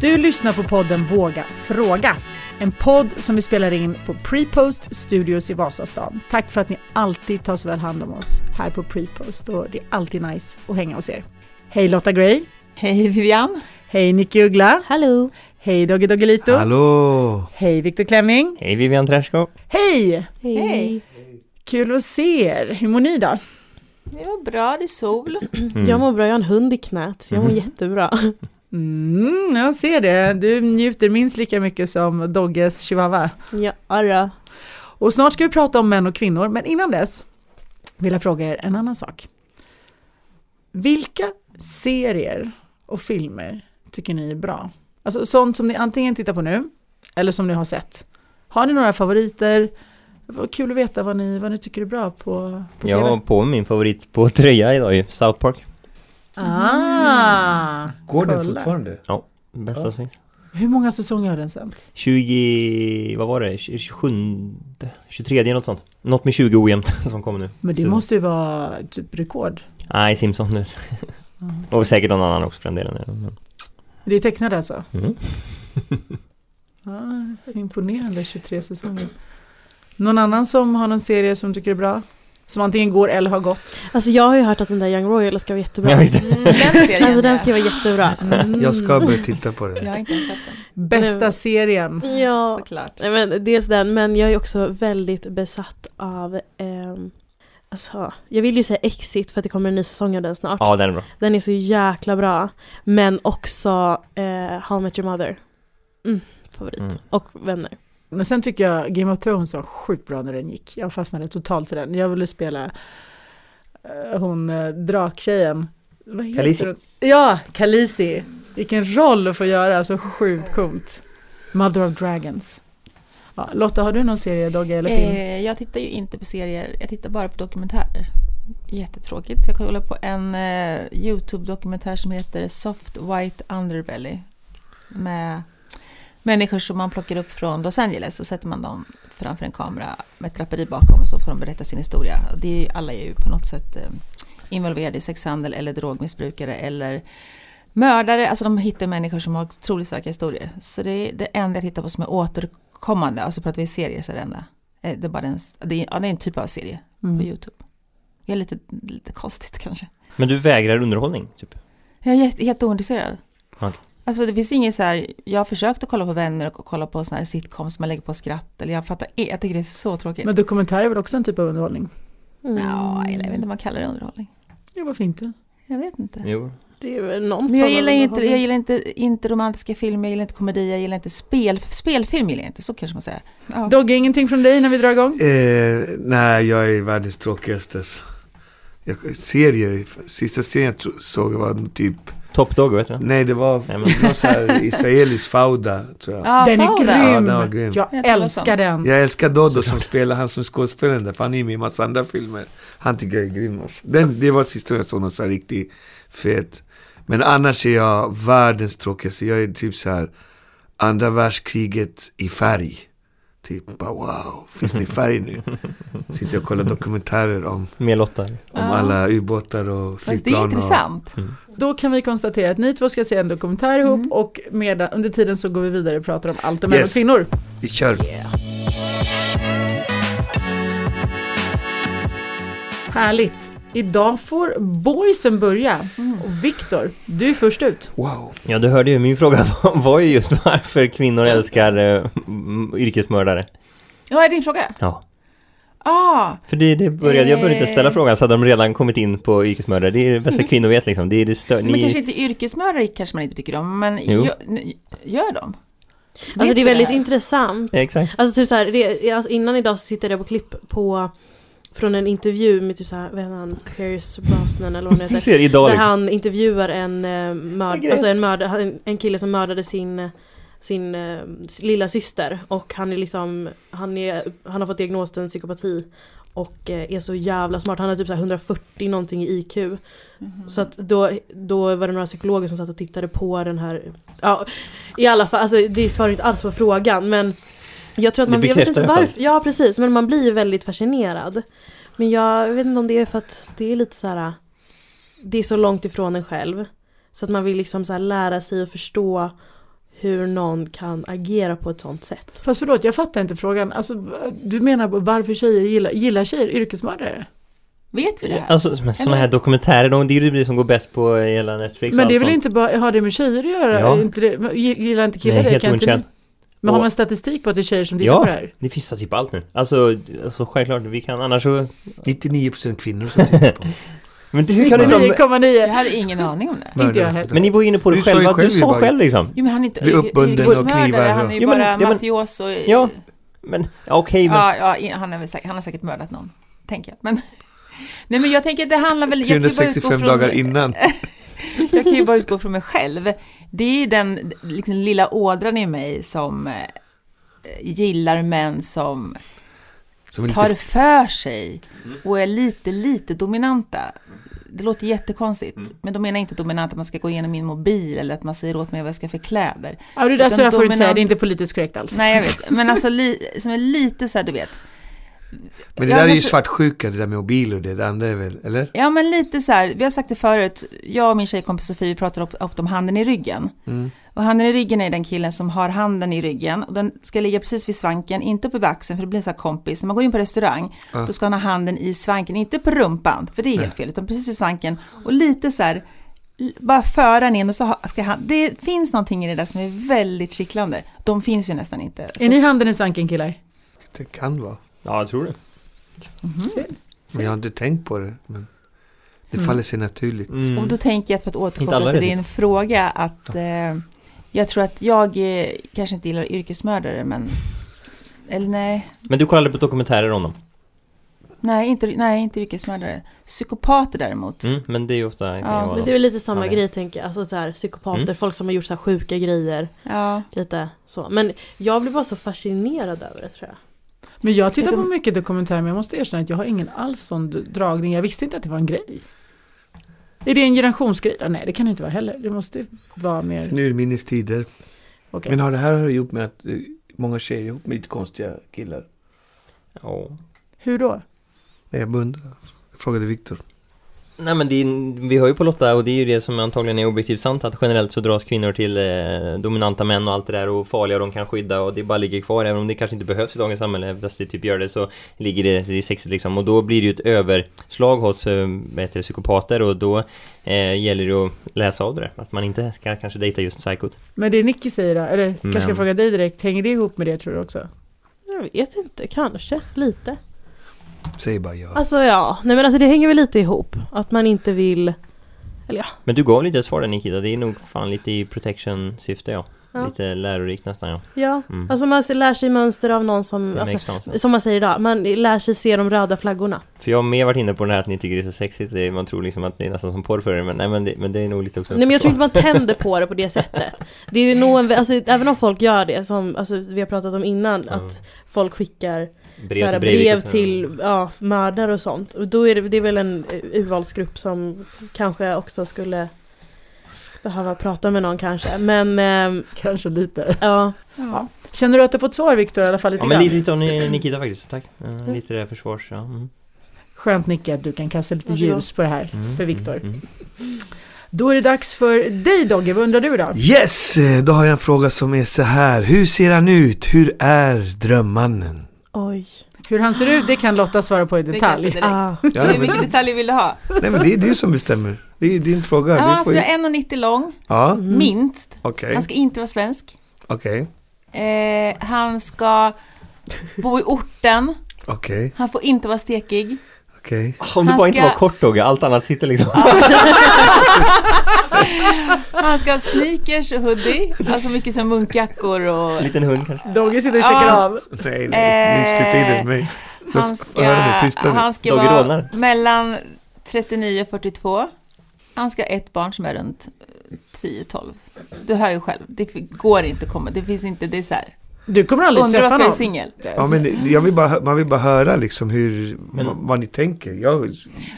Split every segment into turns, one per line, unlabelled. Du lyssnar på podden Våga Fråga. En podd som vi spelar in på Prepost Studios i Vasastan. Tack för att ni alltid tar så väl hand om oss här på Prepost och det är alltid nice att hänga hos er. Hej Lotta Gray.
Hej Vivian!
Hej Nicky Uggla.
Hallå!
Hej Dogge Doggelito.
Hallå!
Hej Viktor Klemming.
Hej Vivian Träsko!
Hej!
Hej!
Kul att se er. Hur mår ni då?
Det var bra, det är sol.
Jag mår bra, jag har en hund i knät. Jag mår jättebra.
Mm, jag ser det. Du njuter minst lika mycket som Dogges chihuahua.
Ja, då.
Och snart ska vi prata om män och kvinnor, men innan dess vill jag fråga er en annan sak. Vilka serier och filmer tycker ni är bra? Alltså sånt som ni antingen tittar på nu, eller som ni har sett. Har ni några favoriter? Vad kul att veta vad ni, vad ni tycker är bra på, på
Jag har
TV.
på min favorit på tröja idag ju, South Park.
Ah,
Går den
kolla.
fortfarande?
Bästa som
Ja.
finns.
Hur många säsonger har den sänt?
20, vad var det? 27, 23 något sånt. Något med 20 ojämnt som kommer nu.
Men det
Säsong.
måste ju vara typ rekord.
Nej, Simpson nu. Och säkert någon annan också för den delen. men-
Det är tecknade alltså?
Mm.
Ja, imponerande 23 säsonger. Någon annan som har någon serie som tycker är bra? Som antingen går eller har gått?
Alltså jag har ju hört att den där Young Royal ska vara jättebra.
Ja, visst.
Mm, den serien
Alltså den
ja.
ska vara jättebra.
Jag ska börja titta på den.
Mm. Jag har inte ens sett den,
Bästa
Nej.
serien?
Ja.
Mm, såklart.
Nej, men dels den, men jag är också väldigt besatt av ehm, Alltså, jag vill ju säga Exit för att det kommer en ny säsong av den snart.
Ja, den är bra.
Den är så jäkla bra. Men också eh, How I Met Your Mother. Mm, favorit.
Mm.
Och Vänner.
Men sen tycker jag Game of Thrones var sjukt bra när den gick. Jag fastnade totalt för den. Jag ville spela eh, hon eh, draktjejen. Vad heter
Khaleesi.
hon? Ja, Khaleesi. Vilken roll att få göra, så sjukt coolt. Mother of Dragons. Ja, Lotta, har du någon serie, Dogge eller film?
Eh, jag tittar ju inte på serier, jag tittar bara på dokumentärer. Jättetråkigt. Så jag kollar på en eh, Youtube-dokumentär som heter Soft White Underbelly. Med människor som man plockar upp från Los Angeles så sätter man dem framför en kamera med ett draperi bakom och så får de berätta sin historia. Och det är ju, alla är ju på något sätt eh, involverade i sexhandel eller drogmissbrukare eller mördare. Alltså de hittar människor som har otroligt starka historier. Så det är det enda jag tittar på som är återkommande. Alltså pratar vi serier så är det enda. Eh, Det är, bara en, det, är, ja, det är en typ av serie
Mm.
på Youtube. Det är lite, lite konstigt kanske.
Men du vägrar underhållning, typ?
Jag är helt, helt ointresserad.
Okej.
Alltså det finns ingen så här, jag har försökt att kolla på vänner och kolla på såna här sitcoms som man lägger på skratt eller jag fattar, i- jag tycker det är så tråkigt.
Men dokumentär är väl också en typ av underhållning?
Mm.
Ja, eller jag vet inte om man kallar det underhållning.
Ja, varför inte?
Jag vet inte.
Jo.
Det är väl någon
Men jag
form av
gillar, inte,
underhållning.
jag gillar inte, inte romantiska filmer, jag gillar inte komedi, jag gillar inte spel, spelfilm gillar jag inte, så kanske man säger. Ja.
Dogge, ingenting från dig när vi drar igång?
Eh, nej, jag är världens tråkigaste. Jag, serier, sista serien jag tro- såg var typ,
Top Dog, vet du?
nej det var
Nej, men-
någon sån här israelisk fauda tror jag.
Ah, Ja,
den är
Fauda.
Ja,
grym!
den var grym.
Jag
Jag talar
älskar
om.
den.
Jag älskar Dodo som spelar han som skådespelaren där, för han är med i massa andra filmer. Han tycker jag är grym alltså. Den, Det var sista jag såg någon så här riktigt fet. Men annars är jag världens tråkigaste. Jag är typ så här andra världskriget i färg. Typ bara wow, finns det i färg nu? Sitter jag och kollar dokumentärer om,
Med Lotta.
om
Ja.
alla ubåtar och
Fast det är
flygplan.
intressant.
Då kan vi konstatera att ni två ska se en dokumentär ihop
Mm.
och medan, under tiden så går vi vidare och pratar om allt om män och
Yes.
kvinnor.
Och vi kör.
Härligt! Idag får boysen börja. Och Viktor, du är först ut.
Wow.
Ja, du hörde ju, min fråga var- var ju just varför kvinnor älskar eh, m- yrkesmördare.
Ja, är din fråga?
Ja.
Ah,
För det, det började, jag började inte ställa
Eh.
frågan så hade de redan kommit in på yrkesmördare. Det är det bästa kvinnor vet liksom. Det är det stö-
men
ni-
kanske inte yrkesmördare kanske man inte tycker om, men
Jo.
gör, n- gör de?
Alltså
Vet
det är
du
väldigt
här?
intressant.
Ja, Exakt.
Alltså typ så här, det, alltså innan idag så tittade jag på klipp på från en intervju med typ så här, vad heter han, Pierce Brosnan eller vad han
Du
heter.
ser idag
Där
liksom.
han intervjuar en, eh, mörd,
Grej.
alltså en, mörd, en, en kille som mördade sin, sin eh, s- lilla syster och han är liksom, han, är, han har fått diagnosen psykopati och eh, är så jävla smart, han har typ så här 140 någonting i IQ. Så att då, då var det några psykologer som satt och tittade på den här, ja i alla fall, alltså det svarar ju inte alls på frågan men jag tror att
Det
man, jag vet
bekräftar
inte
i alla fall.
varför, ja precis, men man blir ju väldigt fascinerad. Men jag vet inte om det är för att det är lite så här. det är så långt ifrån en själv. Så att man vill liksom så här lära sig och förstå hur någon kan agera på ett sånt sätt.
Fast förlåt, jag fattar inte frågan. Alltså, du menar varför tjejer gillar, gillar tjejer yrkesmördare?
Vet vi det här?
Alltså men sådana här dokumentärer, de, det är ju det som går bäst på hela Netflix och
Men det är
allt
väl
sånt.
inte bara, har det med tjejer att göra?
Ja.
Är Inte det, men gillar inte killar
Nej,
det?
helt
Kan inte,
okänd.
ni- men har
Och-
man statistik på att det är tjejer som tittar
Ja.
på det här?
Det finns typ på allt nu. Alltså, alltså självklart, vi kan annars så...
99% kvinnor som tittar på.
Men det, hur kan inte... de-
9,9!
Jag hade ingen aning om det.
Inte jag heller.
Men ni var ju inne på det
Du sa ju
själva,
själv
du
ju
sa
bara-
själv liksom.
Jo men han är inte
Blir uppbunden
yrkesmördare,
av knivar, ja.
Han är ju
Jo,
bara
men- ja, men-
mafios och...
Ja, men ja, okej men...
Ja, ja, i- han, är väl säkert, han har säkert mördat någon, tänker jag. Men, nej men jag tänker att det handlar väl... jag kan ju bara utgå
365
från-
dagar innan.
Jag kan ju bara utgå från mig själv. Det är ju den liksom, lilla ådran i mig som eh, gillar män som
Som är
tar
lite
för sig och är lite, lite dominanta. Det låter jättekonstigt, men de menar inte dominant att man ska gå igenom min mobil eller att man säger åt mig vad jag ska ha för kläder.
Ja, det där
Utan
så jag får du inte säga,
dominant-
det är inte politiskt korrekt alls.
Nej, jag vet. Men alltså li, som är lite så här, du vet.
Men det
Ja,
där är ju
så-
svartsjuka, det där med mobil och det, det andra är väl, eller?
Ja, men lite så här. Vi har sagt det förut. Jag och min tjejkompis Sofie vi pratar of- ofta om handen i ryggen.
Mm.
Och handen i ryggen är den killen som har handen i ryggen. Och den ska ligga precis vid svanken, inte uppe vid axeln för det blir en sån här kompis. När man går in på restaurang,
Ja.
då ska han ha handen i svanken, inte på rumpan, för det är helt fel, utan precis i svanken. Och lite så här, l- bara föra den in och så ha- ska han, det finns någonting i det där som är väldigt kittlande. De finns ju nästan inte.
Är ni handen i svanken killar?
Det kan vara.
Ja, jag tror det.
Men jag har inte tänkt på det. Men det
Mm.
faller sig naturligt.
Och
Mm.
då tänker jag, för att
alla
återkoppla till
redan.
din fråga, att eh, jag tror att jag eh, kanske inte gillar yrkesmördare, men... Eller nej,
Men du kollar aldrig på dokumentärer om dem?
nej inte, nej, inte yrkesmördare. Psykopater däremot.
Mm, men det är ju ofta... kan
Ja,
ju vara
Men
dem.
det är väl lite samma
Ja, det-
grej tänker jag, alltså så här, psykopater,
Mm.
folk som har gjort så här sjuka grejer.
Ja.
Lite så. Men jag blev bara så fascinerad över det tror jag.
Men jag tittar på
Utan-
mycket dokumentärer men jag måste erkänna att jag har ingen alls sån d- dragning. Jag visste inte att det var en grej. Är det en generationsgrej? Ja, Nej, det kan det inte vara heller. Det måste ju vara mer...
Sen urminnes tider.
Okej.
Men har det här att ihop med att eh, många tjejer är ihop med lite konstiga killar?
Ja.
Hur då?
Nej, jag beundrar. Jag frågade Viktor.
Nej men det är, vi hör ju på Lotta och det är ju det som antagligen är objektivt sant att generellt så dras kvinnor till eh, dominanta män och allt det där och farliga de kan skydda och det bara ligger kvar även om det kanske inte behövs i dagens samhälle fast det typ gör det så ligger det i sexet liksom och då blir det ju ett överslag hos eh, vad heter det, psykopater och då eh, gäller det att läsa av det där. Att man inte ska kanske dejta just psykot.
Men det Nicky säger, då, eller kanske ska
Men-
jag fråga dig direkt, hänger det ihop med det tror du också?
Jag vet inte, kanske lite.
Säg bara ja.
Alltså ja, nej men alltså det hänger väl lite ihop. Att man inte vill...
Men du gav lite ett svar där Nikita, det är nog fan lite i protection syfte ja.
Ja.
Lite lärorikt nästan ja.
Ja,
Mm.
alltså man lär sig mönster av någon som...
Det
Alltså,
makes sense.
som man säger idag, man lär sig se de röda flaggorna.
För jag har mer varit inne på det här att ni tycker det är så sexigt, det, man tror liksom att det är nästan som porr för er, men nej men det, men det är nog lite också
Nej men jag tror inte man tänder på det på det sättet. Det är ju nog en, alltså, även om folk gör det, som alltså, vi har pratat om innan,
Mm.
att folk skickar brev,
brev till,
brev
brev
till ja, mördare och sånt. Och då är det, det är väl en eh, urvalsgrupp som kanske också skulle behöva prata med någon kanske. Men ehm,
Kanske lite.
ja,
Ja.
Känner du att du fått svar Viktor i alla fall lite
Ja men
grann?
lite, lite om ni- Nikita faktiskt, tack. Eh, Lite det där försvars, ja. Mm.
Skönt Nicky att du kan kasta lite
Varsågod.
ljus på det här för Viktor.
Mm.
Då är det dags för dig Dogge, vad undrar du då?
Yes! eh, Då har jag en fråga som är så här. Hur ser han ut? Hur är drömmannen?
oj.
Hur han ser ut, det kan Lotta svara på i
Det kan jag
detalj.
säga direkt.
Ah.
Ja, men,
Vilka detaljer vill du ha?
nej men det är du som bestämmer. Det är din fråga.
Ja,
du
han
får
ska
ju...
vara 1,90 lång,
Ja,
Mm.
minst.
okej.
Han ska inte vara svensk.
Okej.
Eh, han ska bo i orten.
Okej.
Han får inte vara stekig.
Okej.
Om du
Han
bara inte
ska-
var kort Dogge, allt annat sitter liksom.
Han ska ha sneakers och hoodie. Alltså mycket som munkjackor och...
En liten hund kanske.
Dogge sitter och checkar
Ja.
av.
Nej,
Eh,
nej. Nu sluta in det med mig.
Han
Hör
ska,
ni, tysta nu.
han ska
Dogge
vara
rånar.
mellan 39 och 42. Han ska ha ett barn som är runt eh, 10-12. Du hör ju själv, det f- går inte att komma. Det finns inte, det är så här.
Du kommer aldrig
Undrar
träffa
varför jag är
någon.
singel.
Ja, men jag vill bara, hö- man vill bara höra liksom hur, vad- vad ni tänker. Jag,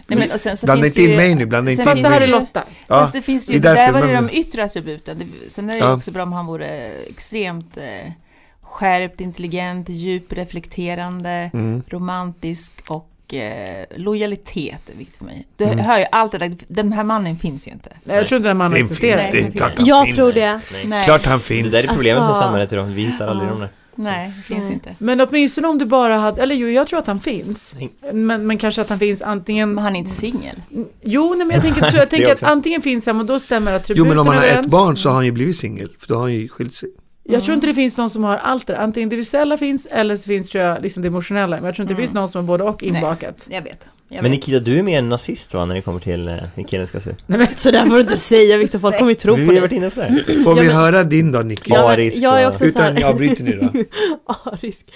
Nej, men, och sen så
blanda
finns
inte
det ju,
in mig nu, blanda inte
sen
Fast
in
det här är
mig.
Lotta.
Ja,
Fast det finns ju,
det är
där
därför
var det
man
de yttre attributen. Det- Sen är det ju
Ja.
också bra om han vore extremt eh, skärpt, intelligent, djup, reflekterande,
Mm.
romantisk och och eh, lojalitet är viktigt för mig. Du
Mm.
hör ju allt det där, den här mannen finns ju inte.
Nej, jag tror inte den mannen
Den finns, det
existerar.
är klart han
Jag
finns.
tror det.
Nej.
Nej,
Klart han
Det
finns.
där är problemet
Alltså-
med samhället idag, vi hittar aldrig
Ja.
dem där.
nej, finns
Mm.
inte.
Men åtminstone om du bara hade, eller jo jag tror att han finns. Men, men kanske att han finns antingen,
Men han är inte singel.
jo nej men jag tänker, så jag
Det
tänker att
också.
antingen finns han och då stämmer
Jo
attributen
men om man har ett
överens.
barn så har han ju blivit singel, för då har han ju skilt sig.
Jag tror inte det finns någon som har allt det där. antingen det visuella finns eller så finns tror jag liksom det emotionella. Men jag tror inte det
Mm.
finns någon som har både och
Nej.
inbakat.
Jag vet. Jag
Men
vet.
Nikita, du är mer en nazist va, när det kommer till eh, hur killen ska se ut?
Så där får du inte säga Viktor, folk kommer ju tro
Vi
på
har varit
dig.
inne på det här.
Får
Ja,
vi
men-
höra din då Nicky?
Ja.
Ja,
Arisk
men jag är
och-
också så
Utan
här.
jag bryter nu då.
Arisk.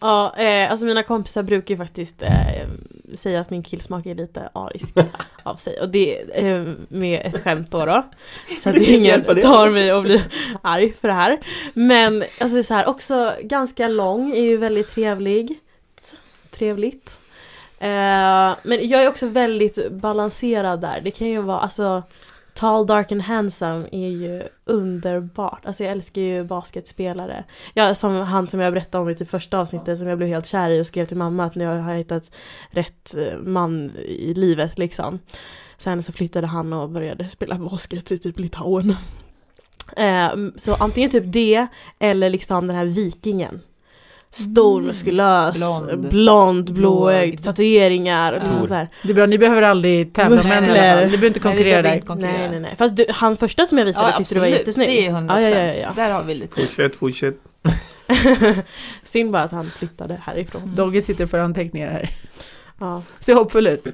Ja, eh, alltså mina kompisar brukar ju faktiskt eh, säga att min killsmak är lite arisk av sig. Och det eh, med ett skämt då då. Så att
Vi kan
ingen
hjälpa det.
tar mig och blir arg för det här. Men alltså det är så här, också ganska lång, är ju väldigt trevlig. Trevligt. Eh, men jag är också väldigt balanserad där. Det kan ju vara, alltså Tall, dark and handsome är ju underbart. Alltså jag älskar ju basketspelare. Ja, som han som jag berättade om i typ första avsnittet som jag blev helt kär i och skrev till mamma att nu har jag hittat rätt eh, man i livet liksom. Sen så flyttade han och började spela basket i typ Litauen. Eh, så antingen typ det eller liksom den här vikingen. Stor,
Mm.
muskulös,
Blond.
blond, blåögd,
Blåögd.
tatueringar.
Ja.
Liksom så här.
Det är bra, ni behöver aldrig tävla med henne i alla
Muskler.
fall. Ni behöver inte
Nej, vi
konkurrera
behöver
där.
inte
Nej,
konkurrera.
nej, nej. Fast du, han första som jag visade tyckte du var
absolut.
jättesnygg.
Det är 100%.
Ja, ja, ja,
Där har vi lite.
Fortsätt, fortsätt.
ja. Synd bara att han flyttade härifrån.
Dogge sitter för anteckningar här.
Ja.
Ser hoppfull ut.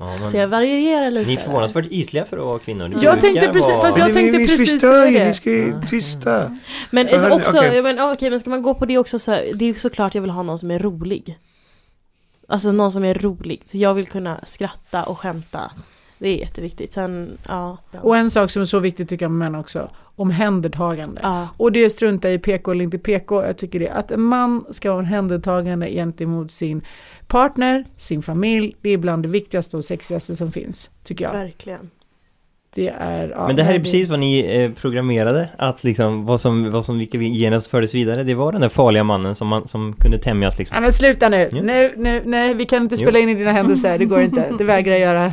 Ja,
Så jag
men,
varierar lite.
ni är förvånansvärt ytliga för att vara kvinnor. Ni
Jag
brukar
tänkte precis-
vara-
fast jag
Men
tänkte
vi,
precis
vi förstör ju,
säga det.
ni ska ju tysta.
Men
Ja, hörni,
också,
okej.
men, okej, men ska man gå på det också så det är ju såklart jag vill ha någon som är rolig. Alltså någon som är rolig. Så jag vill kunna skratta och skämta. Det är jätteviktigt. Sen, ja.
Och en sak som är så viktig tycker jag med män också. Omhändertagande.
ja.
Och det är strunta i PK eller inte PK. Jag tycker det. Att en man ska vara omhändertagande gentemot sin partner, sin familj. Det är bland det viktigaste och sexigaste som finns. Tycker jag.
Verkligen.
Det är... Ja,
Men det här är precis vad ni eh, programmerade, att liksom vad som, vad som, vilka gener som fördes vidare, det var den där farliga mannen som, man, som kunde tämjas liksom.
Nej men sluta nu.
Jo.
Nu, nu, nej vi kan inte
Jo.
spela in i dina händer så här. Det går inte. Det vägrar jag göra.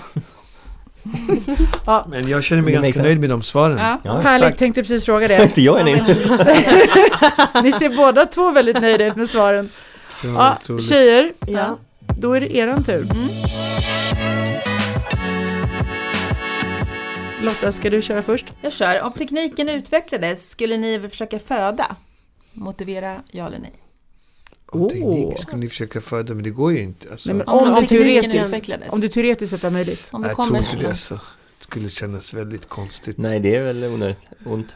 Men jag känner mig
Det
ganska
makes
nöjd med de svaren.
Ja.
Ja,
Härligt,
tack.
tänkte precis fråga det.
just det, jag är nöjd.
Ni ser båda två väldigt nöjda ut med svaren.
Det var
Ja,
otroligt.
tjejer,
Ja.
då är det eran tur. Lotta, ska du köra först?
Jag kör. Om tekniken utvecklades, skulle ni väl försöka föda? Motivera ja eller nej.
Om teknik
Åh.
ska ni försöka föda, men det går ju inte. Alltså,
Nej, men
Om,
om, om,
tekniken
teoretiskt,
utvecklades.
om det teoretiskt sett var möjligt.
om det
jag tror
kommer
inte det alltså. Det skulle kännas väldigt konstigt.
Nej, det är väl onödigt ont.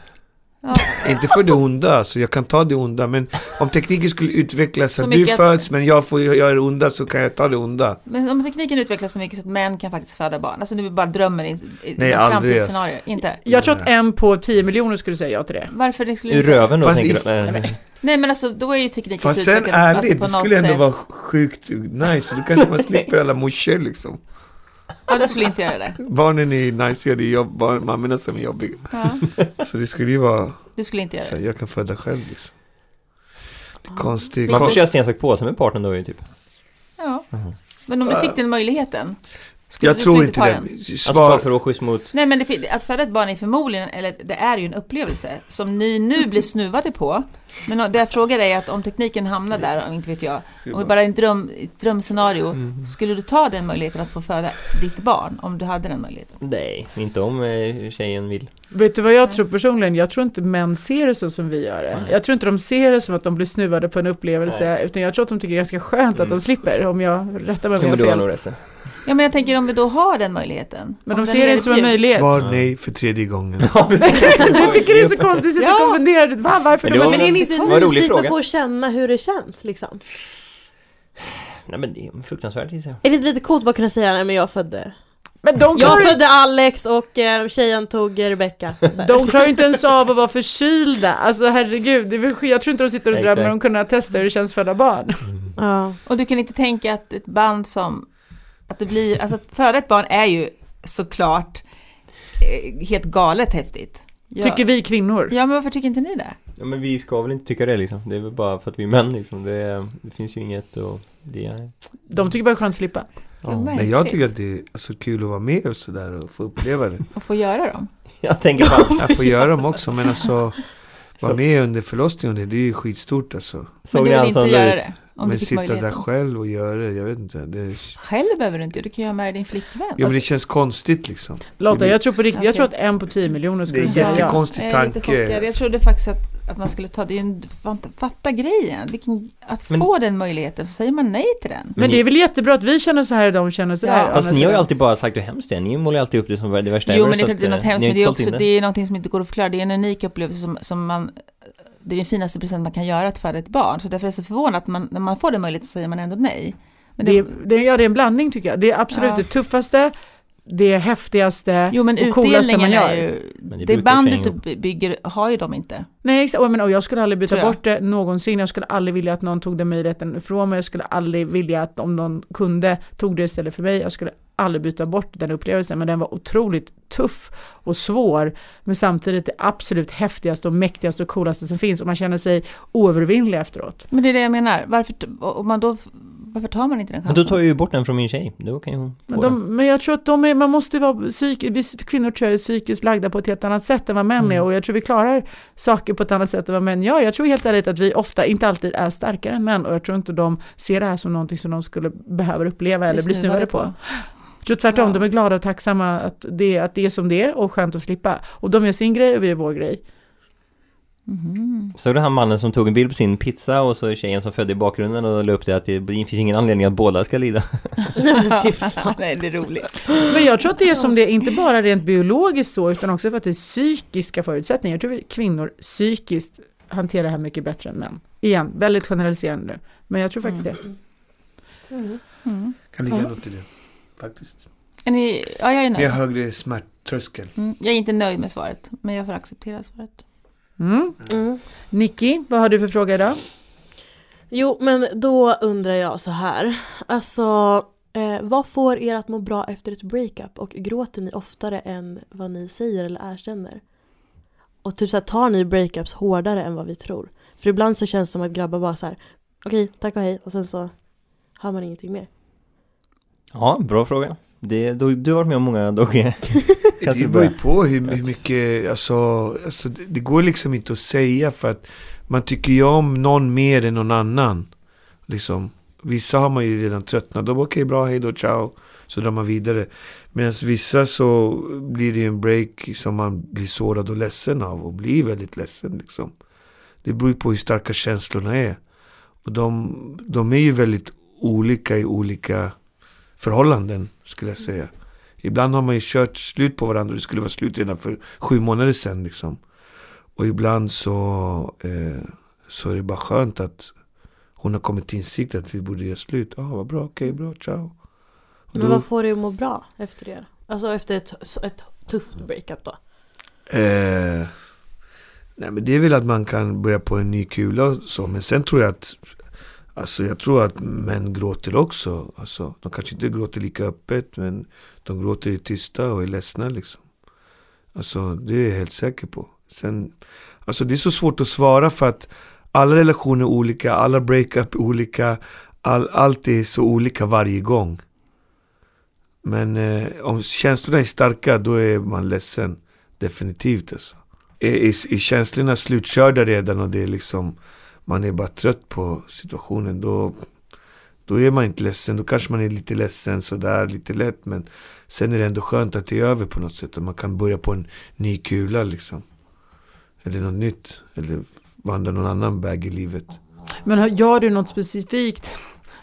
Ja.
Inte för det onda, alltså. jag kan ta det onda. Men om tekniken skulle utvecklas,
Så
så att du
mycket att-
föds men jag får göra det onda så kan jag ta det onda.
Men om tekniken utvecklas så mycket så att män kan faktiskt föda barn. Alltså nu bara drömmer i, i
Nej,
i
aldrig
framtidsscenario. Inte.
Jag tror att en på 10 miljoner skulle säga ja till det.
Varför det skulle
Ur röven då
Fast
tänker
i-
du? Eh, Nej, nej.
Nej men alltså då är ju tekniken så
Fast sen
utvecklad att
ärligt,
på
det
något
skulle ändå
sätt-
vara sjukt nice. För då kanske man slipper alla morsor liksom.
Ja du skulle inte göra det.
Barnen är nice, det är jobb, barn, mammorna som är jobbiga.
Ja,
Så det skulle ju vara,
du skulle inte göra
så
det.
här, jag kan föda själv liksom. Det
Ah.
är konstigt.
Man får
Kon-
köra sten, sax, påse med partnern då ju typ.
Ja. Men om du fick den möjligheten? Skulle
Jag
du
tror
skulle
inte
ta
det.
Alltså bara
Svar,
för att vara schysst mot...
Nej men det, fin- att föda ett barn är förmodligen, eller det är ju en upplevelse som ni nu blir snuvade på. Men det jag frågar är att om tekniken hamnar där, om inte vet jag, om vi bara Mm. är en dröm, ett drömscenario, skulle du ta den möjligheten att få föda ditt barn om du hade den möjligheten?
Nej, inte om eh, tjejen vill.
Vet du vad jag tror personligen? Jag tror inte män ser det så som vi gör det.
Nej.
Jag tror inte de ser det som att de blir snuvade på en upplevelse, utan jag tror att de tycker det är ganska skönt att
Mm.
de slipper, om jag rättar mig om
Jo,
jag
men
har
du har
fel.
nog rätt.
Ja men jag tänker om vi då har den möjligheten.
Men
om
de
den
ser det inte som en
erbjuds.
möjlighet.
svar nej för tredje gången.
Jag tycker det är så konstigt, jag sitter
Ja.
och konfunderar. Va, varför?
Men det
de-
var-
Men är ni
Det var en
inte
rolig
nyfikna
fråga.
på att känna hur det känns liksom?
Nej men det är fruktansvärt gissar jag.
Är det inte lite coolt att bara kunna säga nej men jag födde
Men de
Jag
klarar,
födde Alex och eh, tjejen tog eh, Rebecca.
de klarar inte ens av att vara förkylda. Alltså herregud, det är väl, skit- jag tror inte de sitter och
Exakt.
drömmer om att kunna testa hur det känns att föda barn.
Ja.
Och du kan inte tänka att ett band som, att det blir, alltså att föda ett barn är ju såklart eh, helt galet häftigt. Ja.
Tycker vi kvinnor.
Ja men varför tycker inte ni det?
Ja men vi ska väl inte tycka det liksom. Det är väl bara för att vi är män liksom. Det, det eh, finns ju inget att Det är,
De tycker bara det är skönt att slippa.
Vad
ja.
Men jag
märkligt.
tycker att det är så kul att vara med och sådär och få uppleva det.
Och få göra dem.
Jag tänker på
Jag får göra dem också men alltså vara
Så.
med under förlossningen, det det är ju skitstort alltså.
Men
Såg
du
ni
vill
han
inte
som la
göra
ut?
det? Om
men
du fick
sitta där
möjligheten. Alltså-
själv och göra det, jag vet inte. Det är...
Själv behöver du inte, du kan göra med din flickvän.
Jo men det känns konstigt liksom.
Lotta, jag tror på riktigt, jag tror att
Okej.
en på tio miljoner
Det är
skulle
en
säga ja.
jättekonstig
Jag är lite
tanke.
chockad. Jag trodde faktiskt att, att man skulle ta det. är en- Fatta, fatta grejen. Vilken, att
Men-
få den möjligheten, så säger man nej till den.
Men det är väl jättebra att vi känner så här och de känner så
Ja.
här. Alltså,
Fast ni har ju alltid bara sagt hur hemskt det är. Ni målar ju alltid upp det som det värsta
Jo,
ever,
men det
så
är klart det är
att,
något
eh,
hemskt,
ni har
men
inte
det är
sålt
också
in
det är någonting som inte går att förklara. Det är en unik upplevelse som, som man... Det är den finaste present man kan göra, att föda ett barn. Så därför är jag så förvånad att man, när man får den möjligheten så säger man ändå nej. Men
Det, det, ja, det är en blandning tycker jag. Det är absolut
Ja.
det tuffaste, det häftigaste
jo, men
och coolaste man
utdelningen
gör.
är ju...
Men det
Det,
brukar
bandet typ-
kränga
du by- bygger har ju de inte.
Nej, exakt. Och, jag menar, och jag skulle aldrig byta
Tror jag.
bort det någonsin. Jag skulle aldrig vilja att någon tog den möjligheten ifrån mig. Jag skulle aldrig vilja att om någon kunde tog det istället för mig. Jag skulle aldrig byta bort den upplevelsen. Men den var otroligt tuff och svår. Men samtidigt det absolut häftigaste och mäktigaste och coolaste som finns. Och man känner sig oövervinnlig efteråt.
Men det är det jag menar. Varför, t- och och man då, varför tar man inte den
Men
chansen?
då tar jag ju bort den från min tjej. Då kan ju hon få
Men,
den.
de, men jag tror att de är, man måste vara psyk, vi kvinnor tror jag är psykiskt lagda på ett helt annat sätt än vad män är.
Mm.
Och jag tror vi klarar saker på ett annat sätt än vad män gör. Jag tror helt ärligt att vi ofta, inte alltid är starkare än män. Och jag tror inte de ser det här som någonting som de skulle behöva uppleva eller bli snuvade på. Jag tror tvärtom,
Ja.
de är glada och tacksamma att det, att det är som det är och skönt att slippa. Och de gör sin grej och vi gör vår grej.
Mhm.
Såg du han mannen som tog en bild på sin pizza och så tjejen som födde i bakgrunden och la upp det att det, det finns ingen anledning att båda ska lida?
Fy fan.
Nej, det är roligt.
Men jag tror att det är som det är, inte bara rent biologiskt så, utan också för att det är psykiska förutsättningar. Jag tror vi kvinnor psykiskt hanterar det här mycket bättre än män. Igen, väldigt generaliserande nu, men jag tror faktiskt det.
Mm.
Mm.
Kan ligga något i det, faktiskt.
Är ni, ja, jag är
Ni har
nöjd.
högre smärttröskel.
Mm. Jag är inte nöjd med svaret, men jag får acceptera svaret.
Mm.
Mm.
Nicky, vad har du för fråga idag?
Jo, men då undrar jag så här. Alltså, eh, vad får er att må bra efter ett breakup? Och gråter ni oftare än vad ni säger eller erkänner? Och typ så här, tar ni breakups hårdare än vad vi tror? För ibland så känns det som att grabbar bara så här, okej, tack och hej, och sen så hör man ingenting mer.
Ja, bra fråga. Det, du, du har varit med om många Dogge. Kan du
Det beror ju
börja?
på hur, hur mycket, alltså, alltså det, det går liksom inte att säga för att man tycker ju om någon mer än någon annan. Liksom, vissa har man ju redan tröttnat, de bara, okej bra, hej då, ciao. Så drar man vidare. Medan vissa så blir det ju en break som man blir sårad och ledsen av och blir väldigt ledsen liksom. Det beror ju på hur starka känslorna är. Och de, de är ju väldigt olika i olika förhållanden skulle jag säga. Ibland har man ju kört slut på varandra. Det skulle vara slut redan för sju månader sedan. Liksom. Och ibland så, eh, så är det bara skönt att hon har kommit till insikt att vi borde göra slut. Ja, vad bra. Okej, bra. Ciao. Och
Men
då,
vad får er att må bra efter det? Alltså efter ett, ett tufft breakup då?
eh, nej, men det är väl att man kan börja på en ny kula och så. Men sen tror jag att Alltså jag tror att män gråter också. Alltså, de kanske inte gråter lika öppet men de gråter i tysta och är ledsna liksom. Alltså det är jag helt säker på. Sen, alltså det är så svårt att svara för att alla relationer är olika, alla breakup är olika. All, allt är så olika varje gång. Men eh, om känslorna är starka då är man ledsen. Definitivt alltså. Är, är, är känslorna slutkörda redan och det är liksom man är bara trött på situationen då, då är man inte ledsen. Då kanske man är lite ledsen sådär, lite lätt. Men sen är det ändå skönt att det är över på något sätt. Och man kan börja på en ny kula liksom. Eller något nytt. Eller vandra någon annan väg i livet.
Men har- gör du något specifikt?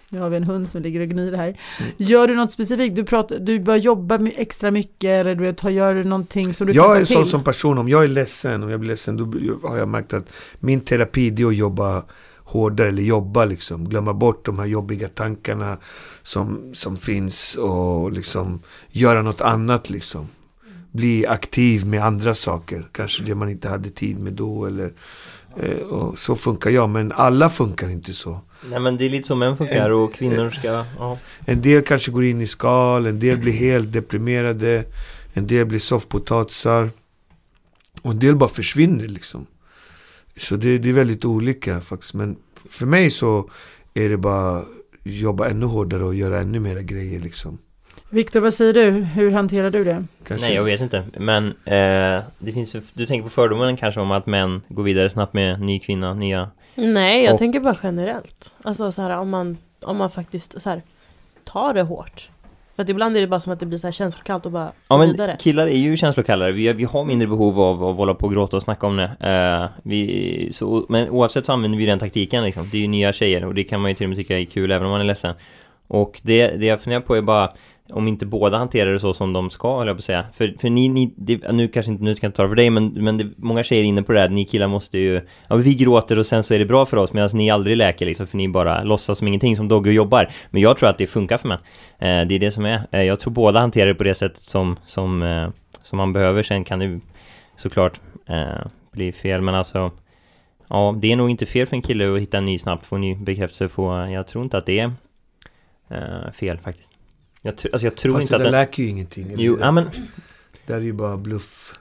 Nu har vi en hund som ligger och gnider här. Gör du något specifikt? Du, pratar, du börjar jobba my- extra mycket eller du vet, har- gör du någonting som du
jag
kan
är
ta
en sån
till?
som person, om jag är ledsen, om jag blir ledsen, då har jag märkt att min terapi det är att jobba hårdare, eller jobba liksom, glömma bort de här jobbiga tankarna som, som finns och liksom göra något annat liksom. Bli aktiv med andra saker, kanske det man inte hade tid med då eller eh, och så funkar jag, men alla funkar inte så.
Nej men det är lite så män funkar och kvinnor ska... Ja.
En del kanske går in i skal, en del blir helt deprimerade, en del blir soffpotatisar. Och en del bara försvinner liksom. Så det, det är väldigt olika faktiskt. Men för mig så är det bara jobba ännu hårdare och göra ännu mera grejer liksom.
Viktor, vad säger du? Hur hanterar du det?
Kanske.
Nej, jag vet inte. Men eh, det finns ju, du tänker på fördomen kanske om att män går vidare snabbt med ny kvinna, nya...
Nej, jag
Och-
tänker bara generellt. Alltså så här, om man, om man faktiskt så här, tar det hårt. För att ibland är det bara som att det blir så här känslokallt och bara
Ja
ja,
men
vidare.
killar är ju känslokallare, vi, vi har mindre behov av att hålla på och gråta och snacka om det. Eh, vi, så, men oavsett så använder vi den taktiken liksom. Det är ju nya tjejer och det kan man ju till och med tycka är kul även om man är ledsen. Och det, det jag funderar på är bara om inte båda hanterar det så som de ska, höll jag på att säga. För, för ni, ni det, nu kanske inte, nu ska jag inte tala för dig, men, men det, många tjejer är inne på det här, ni killar måste ju, ja vi gråter och sen så är det bra för oss, medan ni aldrig läker liksom, för ni bara låtsas som ingenting, som Dogge och jobbar. Men jag tror att det funkar för män. Eh, det är det som är. Eh, jag tror båda hanterar det på det sättet som, som, eh, som man behöver. Sen kan det ju såklart eh, bli fel, men alltså... Ja, det är nog inte fel för en kille att hitta en ny snabbt, få en ny bekräftelse, få... Jag tror inte att det är eh, fel faktiskt. Jag, tr- alltså jag tror
Fast
inte
det
att...
där
Den,
läker ju ingenting.
jo, ja men...
Det där är ju bara bluff.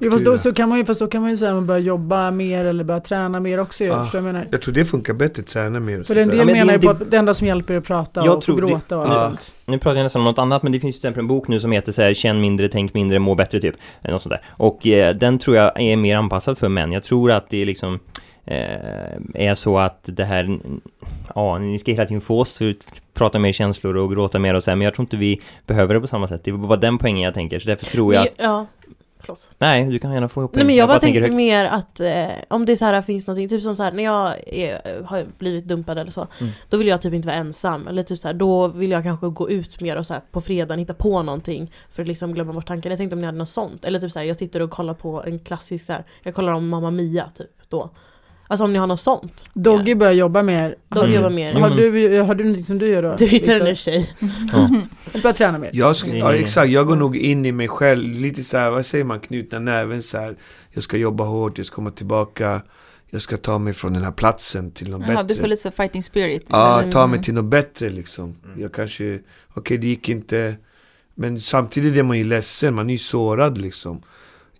Jo, fast, då,
Faktura.
så kan man ju, fast då kan man ju säga att man börjar jobba mer eller börja träna mer också. ju.
Ah.
Förstår du vad jag menar?
Jag tror det funkar bättre, träna mer och
För
sånt
en
där.
del
Ja, men det-
menar ju på
det-
att det enda som hjälper är att prata
Jag
och
tror det-
gråta och allt
Ja.
sånt.
Nu pratar jag nästan om något annat, men det finns till exempel en bok nu som heter så här, Känn mindre, tänk mindre, må bättre typ. Eh, Något sånt där. Och eh, den tror jag är mer anpassad för män. Jag tror att det är liksom eh, är så att det här, ja, ni ska hela tiden få oss att prata mer känslor och gråta mer och så här, men jag tror inte vi behöver det på samma sätt. Det är bara den poängen jag tänker, så därför tror jag att,
Men- Ja, förlåt.
nej, du kan gärna få ihop
Nej men jag, bara tänkte
högt.
mer att eh, om det är så här finns någonting, typ som så här när jag är, har blivit dumpad eller så,
Mm.
då vill jag typ inte vara ensam. Eller typ så här, då vill jag kanske gå ut mer och så här på fredagen hitta på någonting för att liksom glömma bort tanken. Jag tänkte om ni hade något sånt. Eller typ så här, jag sitter och kollar på en klassisk så här, jag kollar om Mamma Mia typ då. Alltså om ni har något sånt.
Doggy börjar jobba mer.
Doggy
Mm.
jobbar mer.
Jo,
Har
men-
du, har du någonting som du gör då?
Du hittar en
Viktor?
tjej.
Börja träna mer.
Jag ska,
Nej,
ja,
nej,
Mm.
nej.
exakt, jag går nog in i mig själv, lite så här, vad säger man, knutna näven så här. Jag ska jobba hårt, jag ska komma tillbaka, jag ska ta mig från den här platsen till något
Jaha, du
bättre.
får lite så fighting spirit
Ja,
istället.
ta mig till något bättre liksom. Jag kanske, okej det gick inte, men samtidigt är man ju ledsen, man är ju sårad liksom.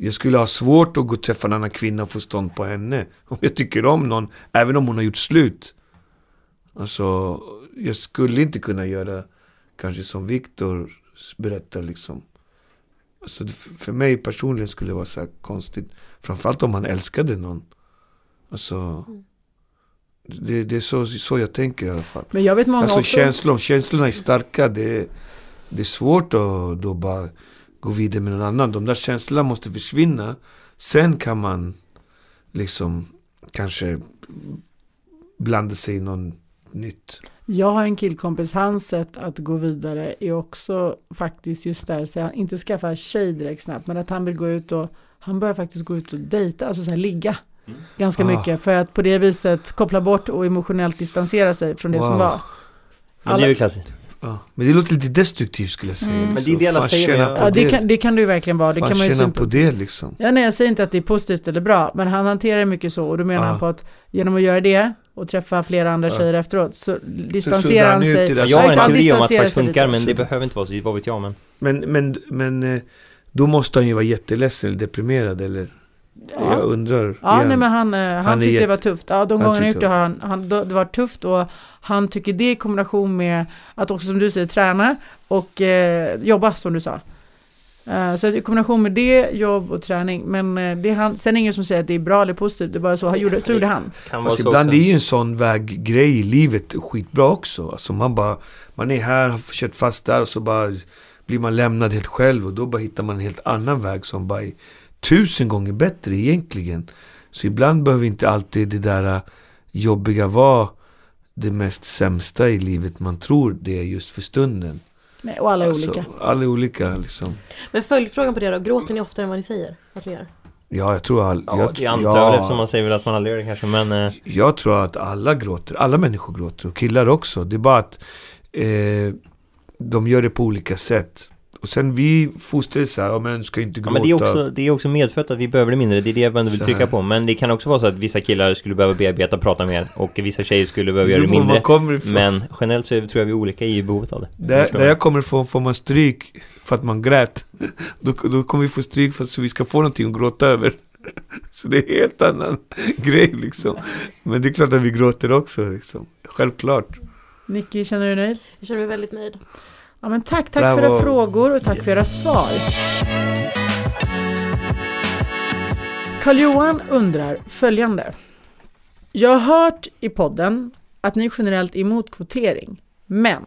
Jag skulle ha svårt att gå och träffa en annan kvinna och få stånd på henne. Om jag tycker om någon, även om hon har gjort slut. Alltså, jag skulle inte kunna göra kanske som Viktor berättar liksom. Alltså, det- för mig personligen skulle det vara så här konstigt. Framförallt om man älskade någon. Alltså, det, det är så, så jag tänker i alla fall.
Men jag vet många
Alltså
också.
känslor, om känslorna är starka. Det, det är svårt att då bara gå vidare med någon annan. De där känslorna måste försvinna. Sen kan man liksom kanske blanda sig i någon nytt.
Jag har en killkompis, hans sätt att gå vidare är också faktiskt just där, så han inte skaffa tjej direkt snabbt, men att han vill gå ut och, han börjar faktiskt gå ut och dejta, alltså så här ligga.
Mm.
Ganska
Ah.
mycket, för att på det viset koppla bort och emotionellt distansera sig från det som
Wow.
var.
Men det är ju klassiskt.
Ja. Men det låter lite destruktivt skulle jag säga.
Mm. Men
det är det alla
Fan,
säger,
tjena
men
på
Ja, det kan, det kan du verkligen vara, det
Fan,
kan man ju
tjena
syn
på det liksom.
Ja, nej, jag säger inte att det är positivt eller bra, men han hanterar mycket så och då menar
Ah.
han på att genom att göra det och träffa flera andra
Ah.
tjejer efteråt så
Så suddar
distanserar
han
han
ut
sig.
det där.
Jag har
Ja,
en teori om att det
distanserar
faktiskt
sig lite.
funkar, men det behöver inte vara så, vad vet jag men...
Men, men, men eh, då måste han ju vara jätteledsen eller deprimerad eller?
Ja.
Jag undrar.
Ja,
igen.
nej, men han, eh, han,
Han är
tyckte det
jätte-
var tufft. Ja, de
han
gångerna jag
tyckte
gjort det har han, han, då- det var tufft och han tycker det i kombination med att också som du säger träna och eh, jobba som du sa. Eh, så att i kombination med det, jobb och träning. Men eh, det är han, sen är det ingen som säger att det är bra eller positivt, det är bara så, han gjorde, så gjorde han.
Kan
Fast Alltså, ibland är ju en sån väg grej i livet skitbra också. Alltså man bara, man är här, har kört fast där och så bara blir man lämnad helt själv och då bara hittar man en helt annan väg som bara är tusen gånger bättre egentligen. Så ibland behöver inte alltid det där äh, jobbiga vara det mest sämsta i livet man tror det är just för stunden.
Nej, och alla är
Alltså,
olika.
alla är olika liksom.
Men följdfrågan på det då, gråter ni oftare än vad ni säger? Att ni gör?
Ja, jag tror all,
Ja,
jag,
jag antar väl eftersom man säger väl att man aldrig gör det kanske, men... eh,
Jag tror att alla gråter, alla människor gråter och killar också. Det är bara att eh, de gör det på olika sätt. Och sen vi fostrades så här, ja men ska inte
Ja,
gråta.
men det är, också, det är också medfött att vi behöver det mindre, det är det jag ändå vill
Så
trycka
här.
på. Men det kan också vara så att vissa killar skulle behöva bearbeta och prata mer och vissa tjejer skulle behöva göra det
beror på var
mindre.
Man kommer ifrån.
Men generellt så är- tror jag vi är olika i behovet av det.
där, där jag kommer ifrån får man stryk för att man grät. Då, då kommer vi få stryk för att så vi ska få någonting att gråta över. Så det är en helt annan grej liksom. Men det är klart att vi gråter också liksom. Självklart.
Nicky, känner du dig nöjd?
Jag känner mig väldigt nöjd.
Ja, men tack, tack
Bravo.
för era frågor och tack
Yes.
för era svar. Karl-Johan undrar följande. Jag har hört i podden att ni generellt är emot kvotering, men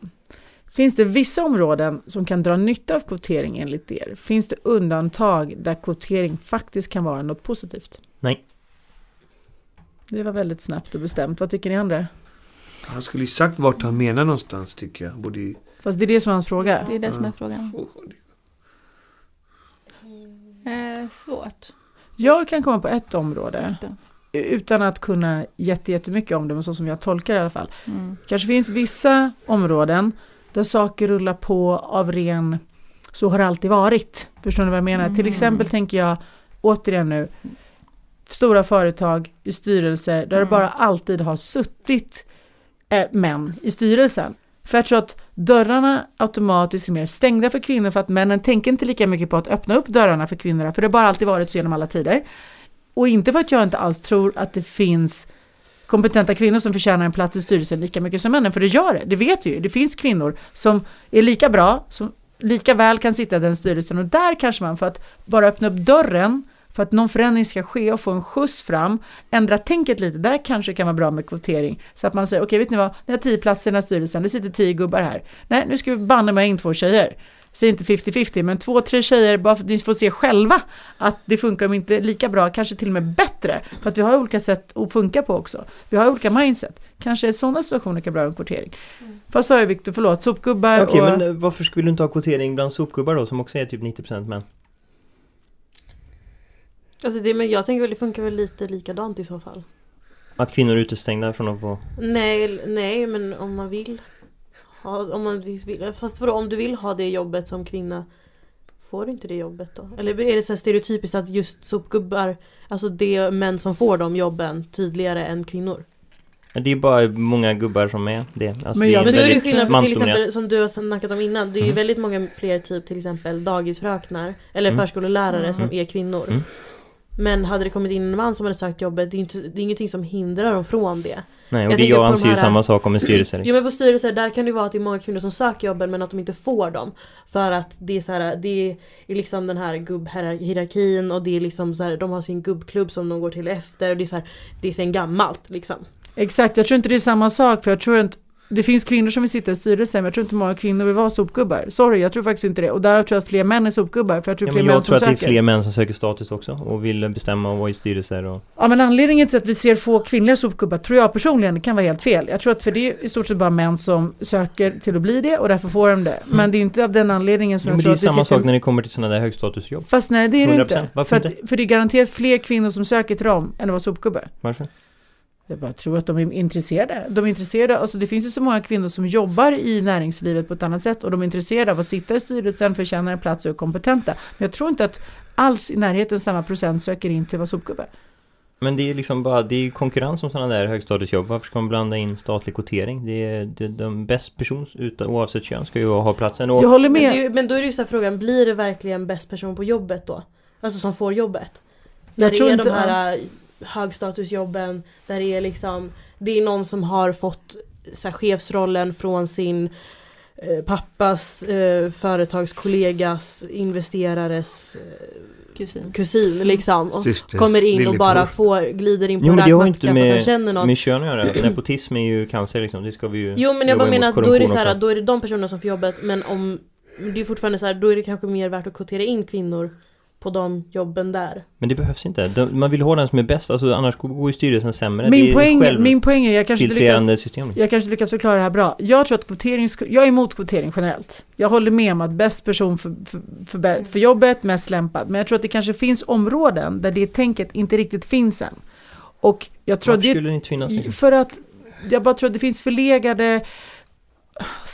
finns det vissa områden som kan dra nytta av kvotering enligt er? Finns det undantag där kvotering faktiskt kan vara något positivt?
Nej.
Det var väldigt snabbt och bestämt. Vad tycker ni andra?
Han skulle ju sagt vart han menar någonstans tycker jag. Borde ju...
Fast det är det som är hans fråga.
Det är det som är
Ja.
frågan. Eh, svårt.
Jag kan komma på ett område
Då.
utan att kunna jätte- jättemycket om det, men så som jag tolkar det i alla fall.
Mm.
kanske finns vissa områden där saker rullar på av ren så har det alltid varit. Förstår ni vad jag menar? Till
Mm.
exempel tänker jag återigen nu stora företag i styrelser där det
Mm.
bara alltid har suttit eh, män i styrelsen. För jag tror att dörrarna automatiskt är mer stängda för kvinnor för att männen tänker inte lika mycket på att öppna upp dörrarna för kvinnorna för det har bara alltid varit så genom alla tider. Och inte för att jag inte alls tror att det finns kompetenta kvinnor som förtjänar en plats i styrelsen lika mycket som männen, för det gör det, det vet vi ju. Det finns kvinnor som är lika bra, som lika väl kan sitta i den styrelsen och där kanske man för att bara öppna upp dörren för att någon förändring ska ske och få en skjuts fram, ändra tänket lite, där kanske det kan vara bra med kvotering. Så att man säger, okej vet ni vad, ni har tio platser i den här styrelsen, det sitter tio gubbar här. Nej, nu ska vi banne mig in två tjejer. Säg inte 50-50, men två, tre tjejer, bara för att ni får se själva att det funkar om inte lika bra, kanske till och med bättre. För att vi har olika sätt att funka på också. Vi har olika mindset. Kanske i sådana situationer kan vara bra med kvotering. Vad sa jag Viktor, förlåt, sopgubbar
Mm. Okej,
och...
men eh, varför skulle du inte ha kvotering bland sopgubbar då som också är typ 90% män?
Alltså det, men jag tänker väl det funkar väl lite likadant i så fall.
Att kvinnor är utestängda från att få...
Nej, l- nej men om man vill. Ha, om man visst vill. Fast vadå, om du vill ha det jobbet som kvinna, får du inte det jobbet då? Eller är det så här stereotypiskt att just sopgubbar, alltså det är män som får de jobben tydligare än kvinnor?
Men Det är bara många gubbar som är det. Alltså,
Men
det
jag-
är
Men då är det ju
väldigt
skillnad på till
mansdominerat.
exempel, som du har snackat om innan, det är ju väldigt många fler typ till exempel dagisfröknar eller
Mm.
förskollärare
Mm.
som är kvinnor.
Mm.
Men hade det kommit in en man som hade sökt jobbet, det är, inte, det är ingenting som hindrar dem från det.
Nej,
jag
och det
tänker på
jag
de
anser ju
här-
samma sak om en styrelse.
Jo men på styrelser, där kan det vara att det är många kvinnor som söker jobben men att de inte får dem. För att det är så här, det är liksom den här gubbhierarkin och det är liksom så här, de har sin gubbklubb som de går till efter och det är så här, det är sen gammalt liksom.
Exakt, jag tror inte det är samma sak för jag tror inte det finns kvinnor som vill sitta i styrelsen men jag tror inte många kvinnor vill vara sopgubbar. Sorry, jag tror faktiskt inte det. Och därav tror jag att fler män är sopgubbar för jag tror
Ja,
fler
men
män
jag tror
som
att det är
söker.
fler män som söker status också och vill bestämma och vara i styrelser och...
Ja men anledningen till att vi ser få kvinnliga sopgubbar tror jag personligen kan vara helt fel. Jag tror att för det är i stort sett bara män som söker till att bli det och därför får de det. Men det är inte av den anledningen som
Mm. Jo,
jag
men det
tror
är
att det
samma
sitter...
sak när det kommer till sådana där högstatusjobb.
Fast nej det är det
100%.
inte.
Varför
För, att, för det är garanterat fler kvinnor som söker till dem än att vara sopgubbe.
Varför?
Jag bara tror att de är intresserade. De är intresserade, alltså det finns ju så många kvinnor som jobbar i näringslivet på ett annat sätt och de är intresserade av att sitta i styrelsen, förtjäna en plats och är kompetenta. Men jag tror inte att alls i närheten samma procent söker in till att vara sopgubbe.
Men det är liksom bara, det är ju konkurrens om sådana där högstatusjobb. Varför ska man blanda in statlig kvotering? Det är, det, de bäst person, utan, oavsett kön, ska ju ha platsen. Och
Jag håller
Men, det är,
med.
ju- men då är det ju så här frågan, blir det verkligen bäst person på jobbet då? Alltså som får jobbet? Där
Jag tror
det är
inte...
de här äh, högstatusjobben, där det är liksom, det är någon som har fått så här, chefsrollen från sin eh, pappas eh, företagskollegas investerares
Kusin.
kusin liksom. Och
Systers
kommer in och
lillebror.
bara får, glider in på
Jo, men det har
raggmattan för
inte
att han
med-
känner någon.
Med kön att göra. Nepotism är ju cancer liksom. Det ska vi ju
Jo men jag
jobba
bara menar
emot
att då är det så
korruption
här,
också.
då är det de personerna som får jobbet men om Det är fortfarande så här, då är det kanske mer värt att kvotera in kvinnor På de jobben där
Men det behövs inte. De, man vill ha den som är bäst. Alltså, annars går- går ju styrelsen sämre. det
Min
är
poäng, min poäng är, jag kanske inte lyckas
självfiltrerande system.
Jag kanske lyckas förklara det här bra. Jag tror att kvotering, sku- jag är emot kvotering generellt. Jag håller med om att bäst person för, för, för, bä- för jobbet, mest lämpad. Men jag tror att det kanske finns områden där det tänket inte riktigt finns än. Och jag tror
Varför
att det,
skulle det inte finnas liksom?
för att jag bara tror att det finns förlegade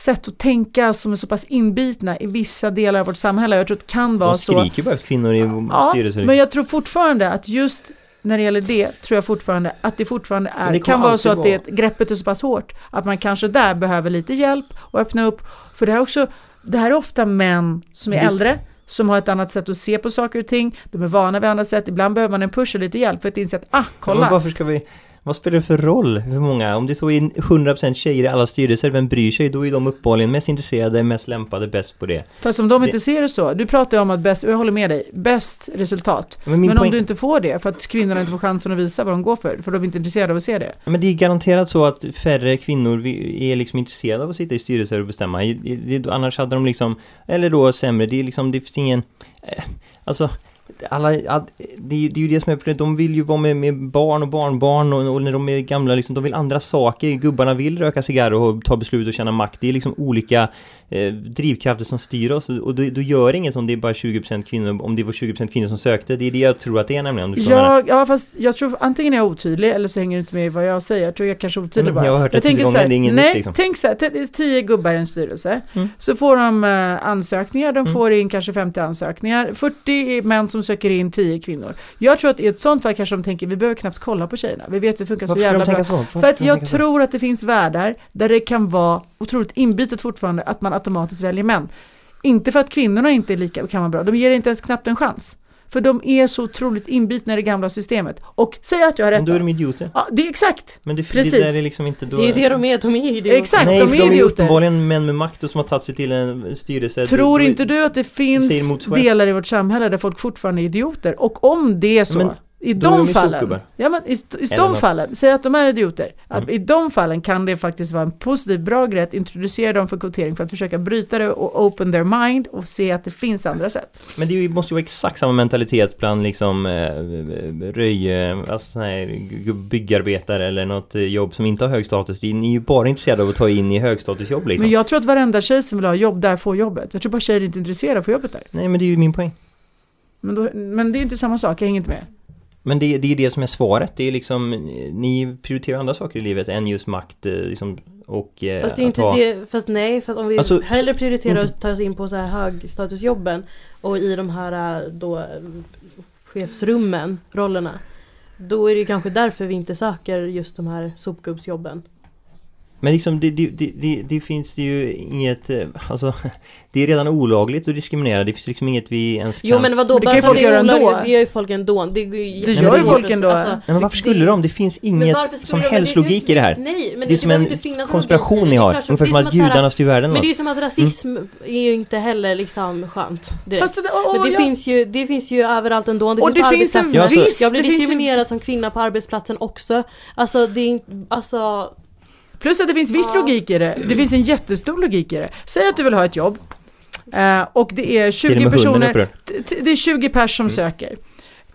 sätt att tänka som är så pass inbitna i vissa delar av vårt samhälle. Jag tror att det kan vara
De
så.
skriker ju bara efter kvinnor i
Ja,
styrelser. liksom.
men jag tror fortfarande att just när det gäller det tror jag fortfarande att det fortfarande är,
Men det kommer
kan vara så att
alltid
det, greppet är så pass hårt att man kanske där behöver lite hjälp och öppna upp. För det här är också, det här är ofta män som är
Visst.
äldre, som har ett annat sätt att se på saker och ting, de är vana vid andra sätt, ibland behöver man en push och lite hjälp för att inse att ah,
Men
kolla,
varför ska vi... Vad spelar det för roll hur många? Om det så är 100% tjejer i alla styrelser, vem bryr sig? Då är de uppenbarligen mest intresserade, mest lämpade, bäst på det.
Fast om de
Det-
inte ser det så, du pratar ju om att bäst, och jag håller med dig, bäst resultat.
Men, min
Men om
poäng,
du inte får det, för att kvinnorna inte får chansen att visa vad de går för, för de är inte intresserade av att se det.
men det är garanterat så att färre kvinnor vi- är liksom intresserade av att sitta i styrelser och bestämma. I- i- det- Annars hade de liksom, eller då sämre, det är liksom, det finns ingen, eh, alltså alla, all, det, är- det är ju det som är problemet, de vill ju vara med, med barn och barnbarn och, och när de är gamla liksom, de vill andra saker. Gubbarna vill röka cigarr och ta beslut och känna makt. Det är liksom olika eh, drivkrafter som styr oss och, och då, då gör det inget om det är bara 20% kvinnor, om det var 20% kvinnor som sökte. Det är det jag tror att det är nämligen. om du förstår vad jag menar.
Jag, ja, fast jag tror antingen är jag otydlig eller så hänger det inte med i vad jag säger. Jag tror jag kanske är otydlig
Mm,
bara.
jag har hört det tusen
tänker så
gånger,
här,
det är ingen
nej,
nytt, liksom.
tänk så här, t- det är tio gubbar i en styrelse.
Mm.
Så får de eh, ansökningar, de
Mm.
får in kanske 50 ansökningar. 40 är män som söker in 10 kvinnor. Jag tror att i ett sånt fall kanske de tänker, vi behöver knappt kolla på tjejerna. Vi vet att det funkar så
Varför ska
jävla
de
bra.
tänka så? Varför
För att
ska de
jag
tänka så?
tror att det finns världar där det kan vara otroligt inbitet fortfarande att man automatiskt väljer män. Inte för att kvinnorna inte är lika kan vara bra, de ger inte ens knappt en chans. För de är så otroligt inbitna i det gamla systemet. Och säg att jag har rätt.
Men då är de
då.
idioter.
Ja, det är exakt.
Men det,
Precis.
det där är liksom inte då...
Det är ju det de är, de är ju det.
Exakt,
Nej,
de
för
är
de är ju
idioter.
uppenbarligen män med makt och som har tagit sig till en styrelse.
Tror
Då- då-
inte du att det
säger
finns
emot sig själv.
delar i vårt samhälle där folk fortfarande är idioter? Och om det är så,
Men
i
då är
de
de ju
fallen,
sopgubbar.
ja, men i, i
Eller
de
något.
fallen, säg att de är idioter, att
Mm.
i de fallen kan det faktiskt vara en positiv, bra grej att introducera dem för kvotering för att försöka bryta det och open their mind och se att det finns andra sätt.
Men det är ju- måste ju vara exakt samma mentalitet bland liksom eh, röj, eh, alltså sån här gu- byggarbetare eller något eh, jobb som inte har hög status. Det är- Ni är ju bara intresserade av att ta in i högstatusjobb liksom.
Men jag tror att varenda tjej som vill ha jobb där får jobbet. Jag tror bara tjejer är inte är intresserade av att få jobbet där.
Nej men det är ju min poäng.
Men, då, men det är ju inte samma sak, jag hänger inte med.
Men det, det är det som är svaret. Det är liksom, eh, ni prioriterar andra saker i livet än just makt eh, liksom, och eh,
Fast det är ju
att
inte
ha-
det, fast nej, för att om vi
Alltså,
hellre prioriterar
inte-
att ta oss in på så här högstatusjobben och i de här eh, då eh, chefsrummen, rollerna. Då är det ju kanske därför vi inte söker just de här sopgubbsjobben.
Men liksom det, det, det, det, det finns ju inget, eh, alltså det är redan olagligt att diskriminera, det finns liksom inget vi ens kan...
Jo men vadå,
Men det kan ju
bara för att
folk
det är
göra ändå.
olagligt, det gör ju folk ändå. Det, går ju
Det
gör ju
jättesvårt
folk
att-
ändå.
Nej, men varför skulle de? Det finns inget
varför skulle
som
de? Men
helst
det-
logik i det här.
Nej, men
det är som
behöver
en
inte finnas någon
konspiration
logik. Det
ni
är
har,
klart som-
ungefär
det är
som att
så här-
judarna styr världen.
Men
va?
det är ju som att rasism är ju inte heller liksom skönt. direkt.
Fast det, åh,
Men det,
jag-
finns ju, det finns ju överallt ändå. Det
och
finns på
det finns en
arbetsplatser.
Ja, alltså-
viss,
Jag blir
det finns ju
diskriminerad som kvinna på arbetsplatsen också. Alltså det är inte, alltså...
Plus att det finns viss
Ja.
logik i det. Det finns en jättestor logik i det. Säg att du vill ha ett jobb eh, och det är
Till och
20
med hunden är Mm.
personer,
upprörd.
t- t- det är 20 pers som söker.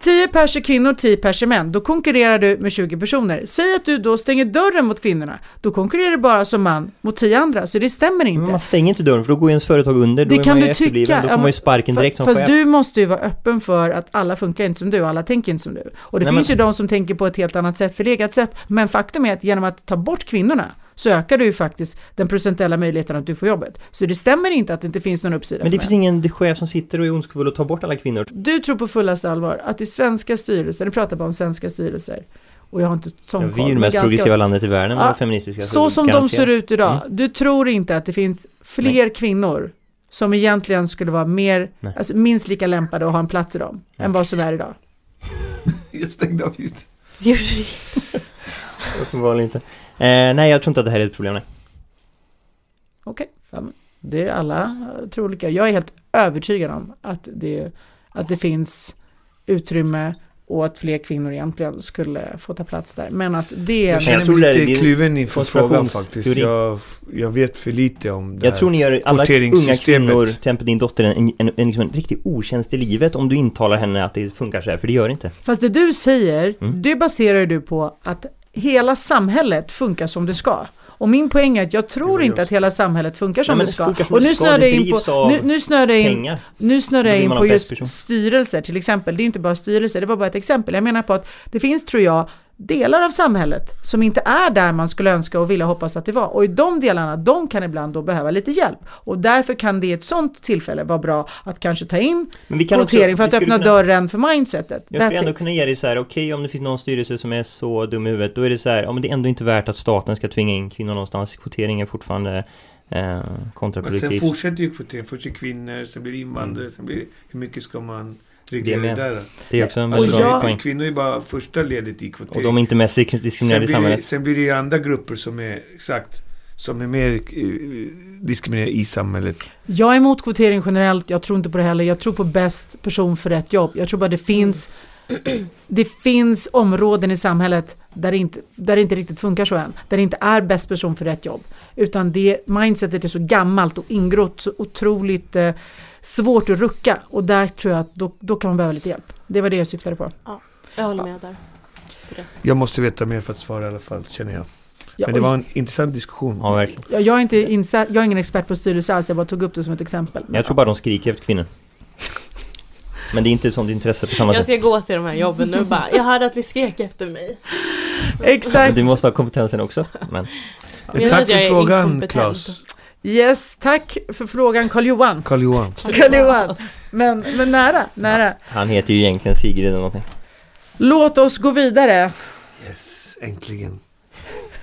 10 pers är kvinnor, 10 pers är män. Då konkurrerar du med 20 personer. Säg att du då stänger dörren mot kvinnorna. Då konkurrerar du bara som man mot 10 andra, så det stämmer
Men
inte.
Man stänger inte dörren för då går ju ens företag under, då
Det
är
kan
man ju
du tycka,
efterbliven,
ja,
då får man
men-
ju sparken direkt som
Fast
chef.
du måste ju vara öppen för att alla funkar inte som du, alla tänker inte som du. Och det
Nej,
finns
men-
ju de som tänker på ett helt annat sätt, förlegat sätt. Men faktum är att genom att ta bort kvinnorna så ökar du ju faktiskt den procentuella möjligheten att du får jobbet. Så det stämmer inte att det inte finns någon uppsida
Men det
för
finns
män.
ingen chef som sitter och är ondskefull och tar bort alla kvinnor.
Du tror på fullaste allvar att i svenska styrelser, nu pratar jag bara om svenska styrelser, och jag har inte sån
Ja,
koll.
vi är ju det
men
mest
ganska-
progressiva liksom, landet i världen med
Ja,
feministiska
Så som de
garanterat.
ser ut idag, du tror inte att det finns fler
Nej.
kvinnor som egentligen skulle vara mer,
Nej.
alltså minst lika lämpade att ha en plats i dem,
Nej.
än vad som är idag.
Jag stängde av ljudet.
Uppenbarligen inte. Eh, nej, jag tror inte att det här är ett problem. Nej.
Okej. Ja, men Det är alla eh, tror olika. Jag är helt övertygad om att det, att det finns utrymme och att fler kvinnor egentligen skulle få ta plats där. Men att det
Jag
är...
känner
känner
jag tror det är
mig
din
lite kluven inför frågan
konspirationsteori.
faktiskt. Jag, jag vet för lite om det
Jag tror ni gör alla unga
kvoteringssystemet.
kvinnor, till exempel din dotter, en, en, en, liksom en riktig otjänst i livet om du intalar henne att det funkar så här, för det gör det inte.
Fast det du säger,
Mm.
det baserar ju du på att hela samhället funkar som det ska. Och min poäng är att jag tror
Det är
inte att hela samhället funkar som
Nej, men
det
det
ska.
funkar som
Och
det
nu
ska,
snör
det
jag in
drivs
på,
av
nu, nu snör jag in
Pengar.
Nu snurrar
Då
jag
blir
in
man
på
en bäst
just
person.
styrelser till exempel. Det är inte bara styrelser, det var bara ett exempel. Jag menar på att det finns, tror jag, delar av samhället som inte är där man skulle önska och vilja hoppas att det var. Och i de delarna, de kan ibland då behöva lite hjälp. Och därför kan det i ett sånt tillfälle vara bra att kanske ta in
Men vi kan också-
kvotering för
vi
att
skulle
öppna
kunna-
dörren för mindsetet.
Jag skulle
That's
ändå
it.
kunna ge dig så här, okej om det finns någon styrelse som är så dum i huvudet, då är det så här, ja men det är ändå inte värt att staten ska tvinga in kvinnor någonstans. Kvotering är fortfarande eh,
Men sen
kontraproduktivt.
fortsätter ju kvoteringen. Först är kvinnor, sen blir det invandrare, sen blir det hur mycket ska man reglerar
Mm. Det med.
det där.
Det är också en
Alltså,
Och
väldigt bra
jag-
poäng.
Kvinnor är bara första ledet i
Och
kvotering.
de är inte mest disk-
sen,
diskriminerade i
blir det,
samhället.
sen blir det ju andra grupper som är, exakt, som är mer eh, diskriminerade i samhället.
Jag är emot kvotering generellt, jag tror inte på det heller. Jag tror på bäst person för rätt jobb. Jag tror bara det finns, det finns områden i samhället där det, inte, där det inte riktigt funkar så än. Där det inte är bäst person för rätt jobb. Utan det mindsetet är så gammalt och ingrott, så otroligt eh, svårt att rucka. Och där tror jag att då, då kan man behöva lite hjälp. Det var det jag syftade på.
Jag håller med där.
Jag måste veta mer för att svara i alla fall, känner jag.
Jag,
Men det var en intressant diskussion.
Ja, verkligen.
jag, jag, är inte insä- jag är ingen expert på styrelse alls, jag bara tog upp det som ett exempel.
Jag tror bara de skriker efter kvinnor. Men det är inte ett sånt intresse på samma
Jag
sätt.
ska gå till de här jobben nu och bara, jag hörde att ni skrek efter mig.
Exakt!
Du måste ha kompetensen också. Men
Men jag
Tack
vet att jag
för
är
frågan,
inkompetent.
Claes.
Yes, tack för frågan Carl-Johan.
Carl-Johan.
Karl-Johan. Men, men nära, nära.
han heter ju egentligen Sigrid eller någonting.
Låt oss gå vidare.
Yes, äntligen.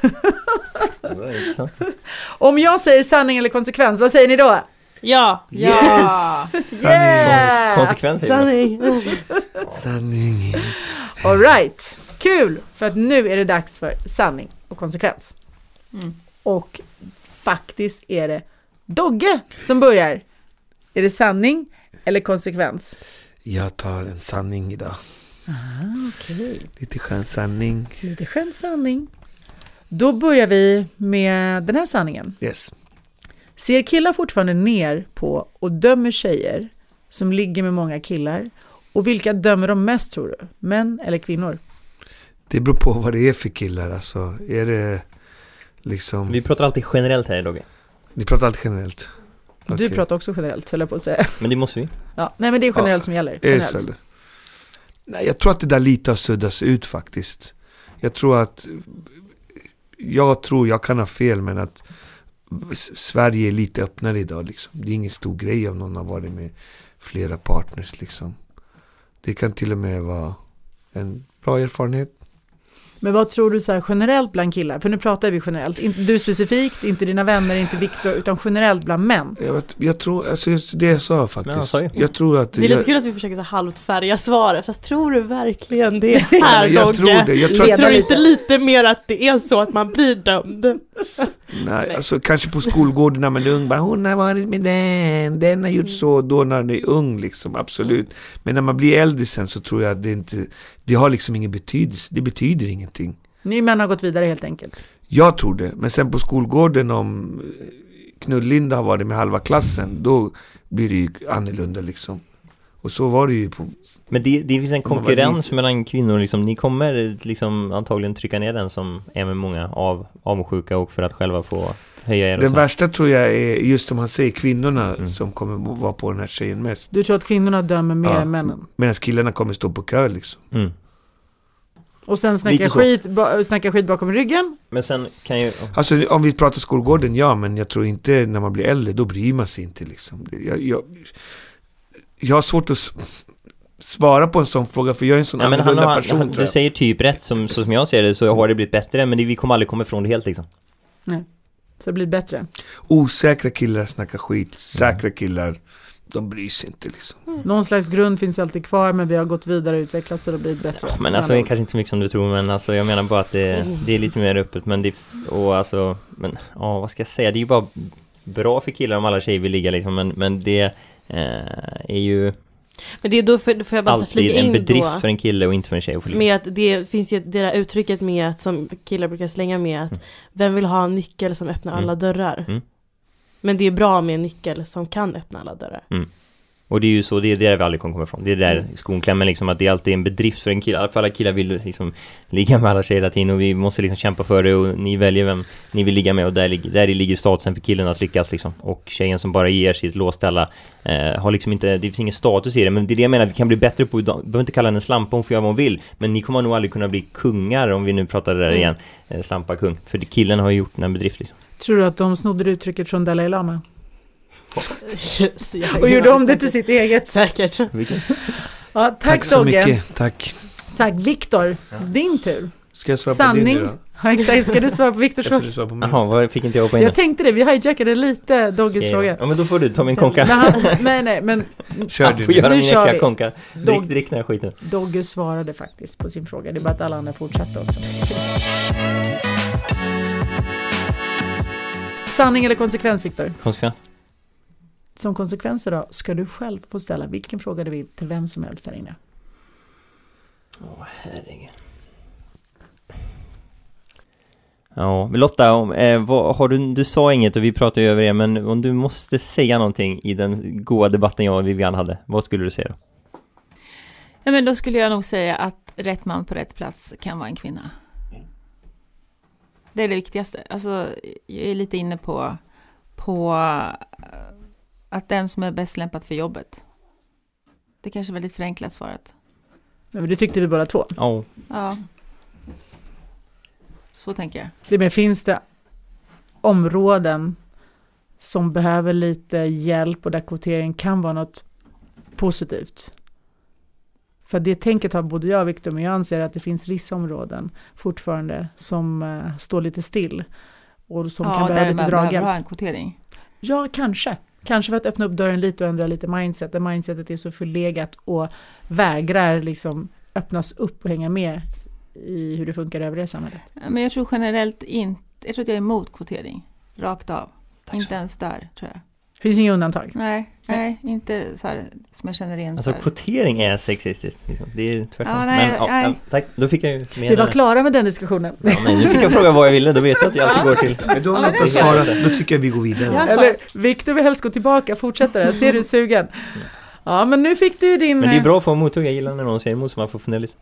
Det var intressant.
Om jag säger sanning eller konsekvens, vad säger ni då?
Ja!
Ja!
Yeah!
Konsekvens är det.
Sanning!
Sanning.
All right. Kul! För att nu är det dags för sanning och konsekvens.
Mm.
Och faktiskt är det Dogge som börjar. Är det sanning eller konsekvens?
Jag tar en sanning idag.
Okej,
Lite skön sanning.
lite skön sanning. Då börjar vi med den här sanningen.
Yes.
Ser killar fortfarande ner på och dömer tjejer som ligger med många killar? Och vilka dömer de mest tror du? Män eller kvinnor?
Det beror på vad det är för killar alltså. Är det liksom...
Vi pratar alltid generellt här idag.
Ni pratar allt generellt. Okej.
Du pratar också generellt höll jag på att säga.
Men det måste vi.
Ja, nej men det är generellt
Ja,
som gäller.
Är det så
Generellt.
eller? Nej, jag tror att det där lite har suddats ut faktiskt. Jag tror att... Jag tror, jag kan ha fel, men att S- Sverige är lite öppnare idag liksom. Det är ingen stor grej om någon har varit med flera partners liksom. Det kan till och med vara en bra erfarenhet.
Men vad tror du så här generellt bland killar? För nu pratar vi generellt. Inte du specifikt, inte dina vänner, inte Viktor, utan generellt bland män.
Jag, vet, jag tror, alltså just det jag sa faktiskt.
han sa ju.
Jag tror att...
Det är lite
jag,
kul att vi försöker så halvt färga svaret, fast tror du verkligen det här
Nej, men jag tror det. Jag tror
Leda
att,
Tror du
lite.
inte lite mer att det är så att man blir dömd?
nej, alltså, kanske på skolgården när man är ung, bara, hon har varit med den, den har gjort
Mm.
så, då när man är ung liksom, absolut. Men när man blir äldre sen så tror jag att det inte, det har liksom ingen betydelse, det betyder ingenting.
Ni män har gått vidare helt enkelt.
Jag tror det, men sen på skolgården om eh, Knullinda har varit med halva klassen, då blir det ju annorlunda liksom. Och så var det ju på,
Men det, det finns en
Om man var
konkurrens
liten.
mellan kvinnor liksom. Ni kommer liksom antagligen trycka ner den som är med många av avundsjuka och för att själva få höja er och
den
så.
värsta tror jag är just som han säger, kvinnorna
Mm.
som kommer vara på den här tjejen mest.
Du tror att kvinnorna dömer mer
Ja.
än männen.
Medan killarna kommer stå på kö liksom.
mm.
Och sen
Lite
snackar
så.
skit, ba- snackar skit bakom ryggen.
Men sen kan ju...
Alltså om vi pratar skolgården, ja men jag tror inte när man blir äldre, då bryr man sig inte liksom. Det- Jag, jag, jag har svårt att s- svara på en sån fråga för jag är en sån
Ja, men han,
annorlunda
han,
person
han,
tror
du
jag.
säger typ rätt, som, så som jag ser det, så har det blivit bättre, men det, vi kommer aldrig komma ifrån det helt liksom.
Så det blir bättre.
Mm.
Osäkra killar snackar skit, säkra killar, de bryr sig inte liksom.
Någon slags grund finns alltid kvar men vi har gått vidare och utvecklats så det blir bättre.
Ja, men alltså, det är kanske inte så mycket som du tror, men alltså, jag menar bara att
Oh.
det, det är lite mer öppet, men det, och alltså, men, ja, vad ska jag säga, det är ju bara bra för killar om alla tjejer vill ligga liksom, men, men det eh, är ju
Men det är då, för, får jag bara
alltid
flika
en
in
bedrift
då.
för en kille och inte för en tjej att få ligga.
Med att det finns ju det där uttrycket med att, som killar brukar slänga med
Mm.
att vem vill ha en nyckel som öppnar alla
Mm.
dörrar?
Mm.
Men det är bra med en nyckel som kan öppna alla dörrar.
Och det är ju så, det är där vi aldrig kommer komma ifrån. Det är där
Mm.
skon klämmer liksom, att det alltid är en bedrift för en kille. För alla killar vill liksom ligga med alla tjejer hela tiden och vi måste liksom kämpa för det och ni väljer vem ni vill ligga med och där, lig- där i ligger statusen för killen att lyckas liksom. Och tjejen som bara ger sitt lås till alla eh, har liksom inte, det finns ingen status i det. Men det är det jag menar, vi kan bli bättre på idag. Vi behöver inte kalla henne en slampa, hon får göra vad hon vill. Men ni kommer nog aldrig kunna bli kungar om vi nu pratar det där
Mm.
igen. Eh, slampa kung. För det- killen har ju gjort den här bedrift liksom.
Tror du att de snodde det uttrycket från Dalai Lama?
Yes, jag har
Och
ingen
gjorde om
aning.
det till sitt eget?
Säkert.
Ja, tack,
så
Dogge.
mycket, tack.
Tack Viktor. Din tur.
Ska jag svara på
Sanning.
det nu då?
Ja, exakt. Ska du svara på Viktors
Eftersom
fråga?
du svarade på min.
Jaha, vad fick inte jag poäng
Jag tänkte det, vi hijackade lite Doggys
Okej,
fråga.
Ja men då får du ta min
Men
konka.
han- Nej, nej, men
Kör
Jag får
du.
göra
Nu
min
kör
äckliga
vi.
konka. Drick,
Dog-
drick den här skiten.
Dogge svarade faktiskt på sin fråga. Det är bara att alla andra fortsatte också. Sanning eller konsekvens, Viktor?
Konsekvens.
Som konsekvens idag ska du själv få ställa vilken fråga du vill till vem som helst här inne.
Herregud. Ja, men Lotta, om, eh, vad, har du, du sa inget och vi pratade ju över det, men om du måste säga någonting i den goda debatten jag och Vivian hade, vad skulle du säga då?
Ja, men då skulle jag nog säga att rätt man på rätt plats kan vara en kvinna. Det är det viktigaste. Alltså, jag är lite inne på, på eh, att den som är bäst lämpad för jobbet. Det kanske är väldigt förenklat svaret.
Nej, men det tyckte vi båda två.
Ja,
Ja. Så tänker jag.
Det med, finns det områden som behöver lite hjälp och där kvotering kan vara något positivt? För det tänket har både jag och Viktor, men jag anser att det finns vissa områden fortfarande som eh, står lite still och som
ja,
kan behöva
där
lite
man behöver
draghjälp.
ha en kvotering.
Ja, kanske. Kanske för att öppna upp dörren lite och ändra lite mindset, där mindsetet är så förlegat och vägrar liksom öppnas upp och hänga med i hur det funkar i övriga samhället.
Ja, Men jag tror generellt inte, jag tror att jag är emot kvotering. Rakt av. inte ens där, tror jag.
Det finns inga undantag.
Nej, nej, inte så här som jag känner igen.
Alltså
så här.
kvotering är sexistiskt, liksom. det är tvärtom.
Ja, nej,
men, ja,
nej.
ja, tack, då fick jag ju med
Vi var
den.
klara med den diskussionen.
Ja, nej, nu fick jag fråga vad jag ville, då vet jag att jag alltid går till...
Men då har
Ja,
Lotta
det-
svarat, då tycker jag vi går vidare.
Ja,
Eller Viktor vill helst gå tillbaka, fortsätta där, ser du sugen? Ja men nu fick du ju din...
Men det är bra att få mothugg, jag gillar när någon säger emot så man får fundera lite.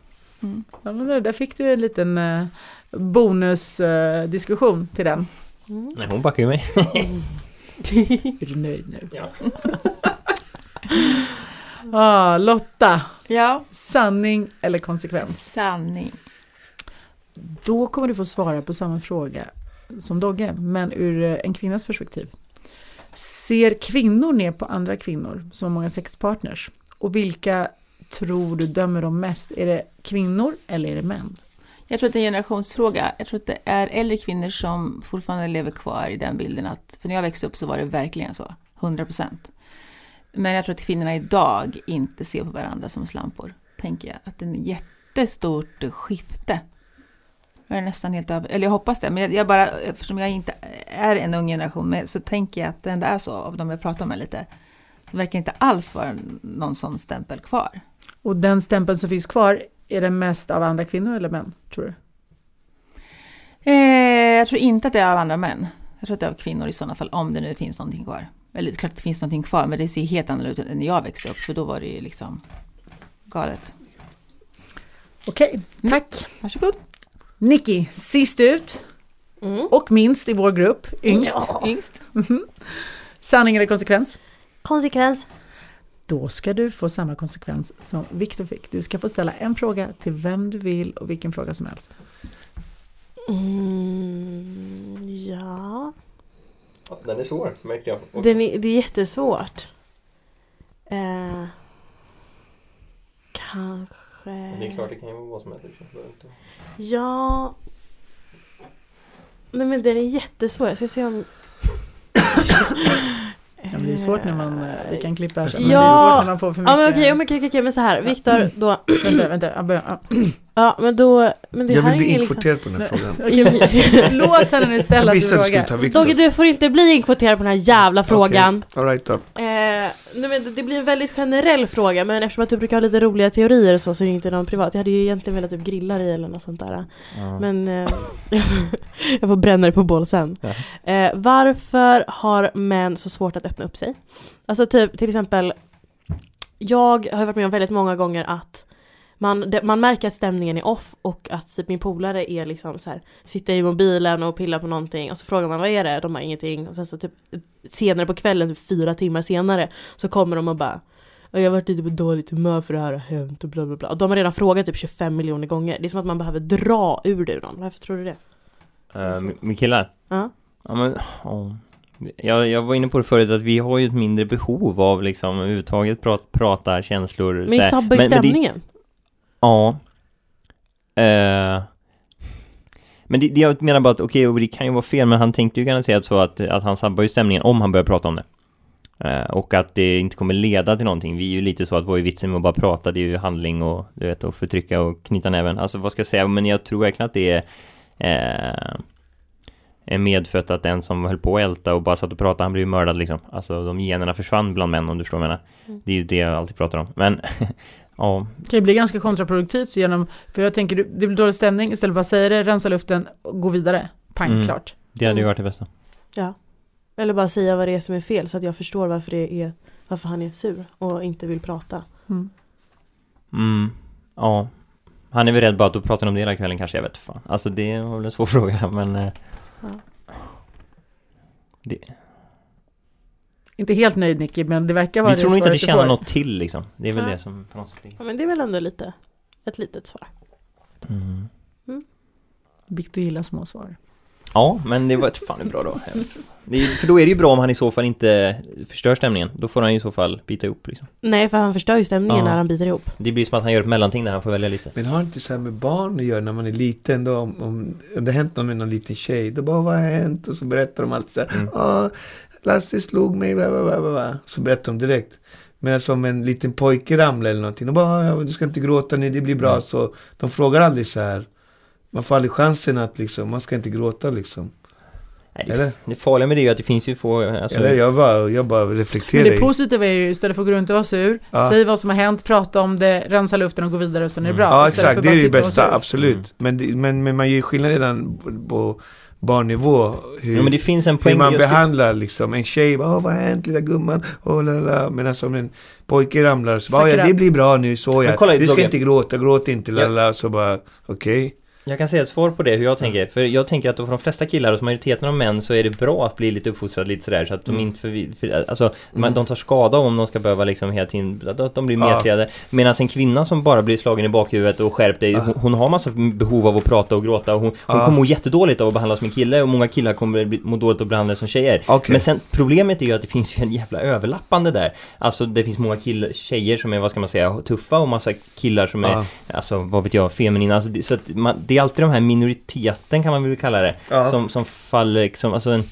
Mm.
eh, Ja, men där- där fick du ju en liten eh, bonusdiskussion till den.
Nej, hon backar ju mig.
Är du nöjd nu? Ja. ah, Lotta,
Ja,
sanning eller konsekvens?
sanning.
Då kommer du få svara på samma fråga som Dogge, men ur eh, en kvinnas perspektiv. Ser kvinnor ner på andra kvinnor som har många sexpartners? Och vilka tror du dömer dem mest? Är det kvinnor eller är det män?
Jag tror att det är en generationsfråga. Jag tror att det är äldre kvinnor som fortfarande lever kvar i den bilden att, för när jag växte upp så var det verkligen så, 100 procent. Men jag tror att kvinnorna idag inte ser på varandra som slampor, tänker jag. Att det är ett jättestort skifte. Jag är nästan helt över, eller jag hoppas det, men jag, jag bara, eftersom jag inte är en ung generation, men så tänker jag att det ändå är så, av de jag pratar med lite, så verkar inte alls vara någon sån stämpel kvar.
Och den stämpeln som finns kvar, är det mest av andra kvinnor eller män, tror du?
Eh, jag tror inte att det är av andra män. Jag tror att det är av kvinnor i sådana fall, om det nu finns någonting kvar. Eller det är klart att det finns någonting kvar, men det ser ju helt annorlunda ut än när jag växte upp, för då var det ju liksom galet.
Okej, tack.
Varsågod.
Nicky, sist ut
Mm.
och minst i vår grupp, yngst.
Yngst.
Sanning eller konsekvens?
Konsekvens.
Då ska du få samma konsekvens som Viktor fick. Du ska få ställa en fråga till vem du vill och vilken fråga som helst.
Mm, ja.
Den är svår, märkte jag.
Den är, det är jättesvårt. Eh, kanske...
det kan ju vara vad som helst. liksom.
Ja... Nej men den är jättesvår. Jag ska se om...
Ja, men det är svårt när man eh, vi kan klippa. här sen, Men
Ja.
det är svårt när man får för mycket.
Ja men okej, ja, men okej, okej, okej, men så här. Viktor då...
Vänta, vänta. jag börjar- ja.
Ja men då... Men det
Jag
här
vill bli
är ingen liksom...
inkvoterad på den här frågan.
Okej, men- Låt henne nu ställa
Jag
sin
visste att du skulle
fråga.
ta Viktor.
Dogge du får inte bli inkvoterad på den här jävla frågan.
All right då.
Eh, nej men det- det blir en väldigt generell fråga men eftersom att du brukar ha lite roliga teorier och så så är det inte någon privat. Jag hade ju egentligen velat typ grilla dig eller något sånt där. Men eh, jag får bränna dig på bål sen. Eh, varför har män så svårt att öppna upp sig? Alltså typ till exempel, jag har ju varit med om väldigt många gånger att man, det- man märker att stämningen är off och att typ min polare är liksom så här, sitter i mobilen och pillar på någonting och så frågar man vad är det? De har ingenting och sen så typ senare på kvällen, typ fyra timmar senare, så kommer de och bara "Ja, jag har varit lite på dåligt humör för det här har hänt och bla bla bla. Och de har redan frågat typ 25 miljoner gånger. Det är som att man behöver dra ur det ur någon. Varför tror du det?
Med Eh, killar?
Ja.
Ja men, ja. Jag, jag var inne på det förut att vi har ju ett mindre behov av liksom överhuvudtaget prat, prata känslor
Men ni
så här.
sabbar ju
Men- men det-
stämningen.
Ja. Eh, Men det, det jag menar bara att, okej, och det kan ju vara fel, men han tänkte ju garanterat så att, att han sabbar ju stämningen om han börjar prata om det. Eh, och att det inte kommer leda till någonting. Vi är ju lite så att vad är vitsen med att bara prata? Det är ju handling och, du vet, och förtrycka och knyta näven. Alltså vad ska jag säga? Men jag tror verkligen att det är eh, är medfött att den som höll på att älta och bara satt och pratade, han blev ju mördad liksom. Alltså de generna försvann bland män om du förstår vad jag menar.
Mm.
Det är ju det jag alltid pratar om. Men, ja.
Det kan ju bli ganska kontraproduktivt genom, för jag tänker, det blir dålig stämning, istället för att bara säga det, rensa luften, och gå vidare. Pang,
Mm.
klart.
Det hade ju varit det bästa.
Ja. Eller bara säga vad det är som är fel så att jag förstår varför, det är, varför han är sur och inte vill prata.
Mm.
Mm, ja. Han är väl rädd bara att du pratar om det hela kvällen kanske, jag vet fan. Alltså det var väl en svår fråga, men... eh,
Ja.
Det,
Inte helt nöjd Nicky, men det verkar vara
vi tror nog inte
svaret
att det
du
tjänar
får.
något till liksom. Det är väl
Ja.
det som på något sätt ligger.
Ja, men det är väl ändå lite, ett litet svar.
Mm.
Victor gillar små svar.
Ja, men det var ett fan det är bra då. Jag vet. Det är, för då är det ju bra om han i så fall inte förstör stämningen. Då får han ju i så fall bita ihop liksom.
Nej, för han förstör ju stämningen
Ja.
när han biter ihop.
Det blir som att han gör ett mellanting där han får välja lite.
Men har inte så här med barn att göra när man är liten då? Om, om, om det har hänt något med någon liten tjej, då bara vad har hänt? Och så berättar de allt så här.
Mm.
"Ah, Lasse slog mig, bla, bla, bla, bla, bla. Så berättar de direkt. Men som en liten pojke ramlar eller någonting. De bara, "Ah, ja, du ska inte gråta nu, det blir bra.
Mm.
Så de frågar aldrig så här. Man får aldrig chansen att liksom, man ska inte gråta liksom.
Nej,
Eller?
det, det farliga med det är ju att det finns ju få... Alltså,
Eller jag bara, jag bara
Men
reflekterar.
det
i-
positiva är ju istället för att gå runt och vara sur,
Ja.
säg vad som har hänt, prata om det, rensa luften och gå vidare och sen är det
Mm.
bra.
Ja,
Istället för
exakt.
att
Det är
bara
det
sitta och vara
bästa,
sur.
absolut.
Mm.
Men, det, men, men man gör ju skillnad redan på- på barnnivå. Hur,
ja, men det finns en
hur
poäng.
man
jag skulle-
behandlar liksom en tjej. Bara, "Åh, vad har hänt lilla gumman? Oh, la, la. Medan som en pojke ramlar så bara, "Åh, ja,
Säkert.
det blir bra nu, så
Men
ja.
kolla,
Du ska
Dogge.
inte gråta, gråt inte, la,
Ja.
la. Så bara, okej.
Jag kan säga ett svar på det hur jag tänker. För jag tänker att för de flesta killar och majoriteten av män så är det bra att bli lite uppfostrad lite sådär så att de
Mm.
inte för, för, alltså, man, de tar skada om de ska behöva liksom hela tiden, att- att de blir
Ja.
mesigade. Medan en kvinna som bara blir slagen i bakhuvudet och skärp dig,
Ja.
hon, hon har massa behov av att prata och gråta och hon, hon
Ja.
kommer må jättedåligt av att behandlas som en kille och många killar kommer bli- må dåligt av att behandlas som tjejer.
Okej.
Men sen problemet är ju att det finns ju en jävla överlappande där. Alltså det finns många kill- tjejer som är, vad ska man säga, tuffa och massa killar som är
Ja.
Alltså vad vet jag, feminina, alltså, det, så att man, det är alltid de här minoriteten kan man väl kalla det
Ja.
som, som faller liksom, alltså en,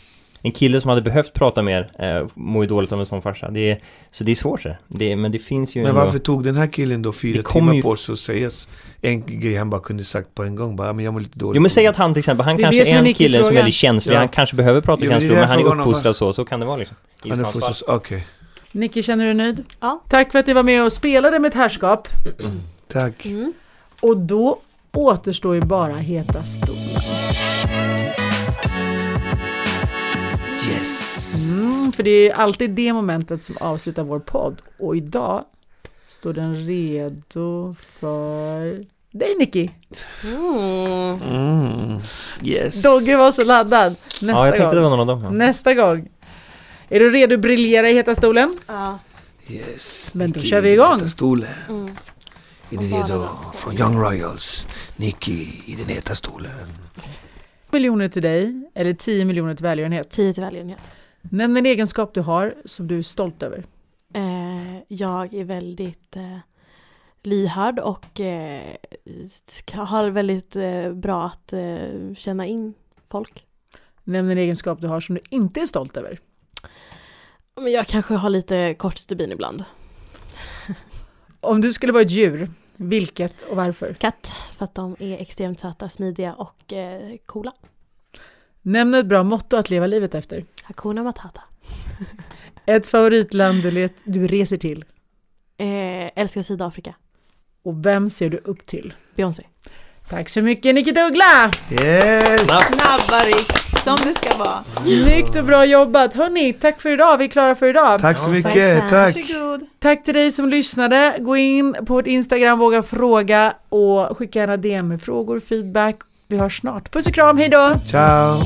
en kille som hade behövt prata mer eh, mår ju dåligt av en sån farsa det är, Så det är svårt det, det men det finns ju
Men
ändå-
varför tog den här killen då fyra
Det kommer
timmar
ju-
på sig att säga en grej han bara kunde sagt på en gång? Bara, "Ja, men jag mår lite dålig.
Jo men säg att han till exempel, han
Det är
kanske
det som
är
är
en
Nickis
kille som är
fråga.
väldigt känslig,
Ja.
han kanske behöver prata
Jo, men det är
känslor
det
men
jag
han är
frågar honom, va?
uppfostrad så, så kan det vara liksom I
Han är
hans fall.
fostrad- Okej,
Nicky, känner du dig nöjd?
Ja.
Tack för att ni var med och spelade mitt herrskap.
tack.
Mm.
Och då återstår ju bara heta stolen.
Yes!
Mm, för det är alltid det momentet som avslutar vår podd. Och idag står den redo för dig Nicky.
Mm.
Mm. Yes.
Dogge var så laddad.
Ja jag
Nästa
tänkte det
gång.
var någon av dem ja.
Nästa gång. Är du redo att briljera i heta stolen?
Ja.
Yes.
Men då
Nicky
kör vi
i
igång.
vita Stolen.
Mm.
Är ni
Och bara
redo?
vatten.
Från Young Royals, Nicky i den heta stolen.
miljoner till dig eller 10 miljoner till välgörenhet.
10 till välgörenhet.
Nämn en egenskap du har som du är stolt över.
Eh, jag är väldigt eh, lyhörd och eh, ska- har väldigt eh, bra att eh, känna in folk.
Nämn en egenskap du har som du inte är stolt över.
Men jag kanske har lite kort stubin ibland.
Om du skulle vara ett djur, vilket och varför?
Katt, för att de är extremt söta, smidiga och eh, coola.
Nämn ett bra motto att leva livet efter.
Hakuna Matata.
Ett favoritland du, let- du reser till.
Eh, älskar Sydafrika.
Och vem ser du upp till?
Beyoncé.
Tack så mycket Nikita Uggla!
Yes!
Snabba Rick, som det ska vara.
Snyggt och bra jobbat! Hörni, tack för idag, vi är klara för idag.
Tack så
Ja,
mycket,
tack.
tack!
Varsågod.
Tack till dig som lyssnade. Gå in på vårt Instagram, våga fråga och skicka gärna DM med frågor, feedback. Vi hörs snart. Puss och kram, hej då!
Ciao!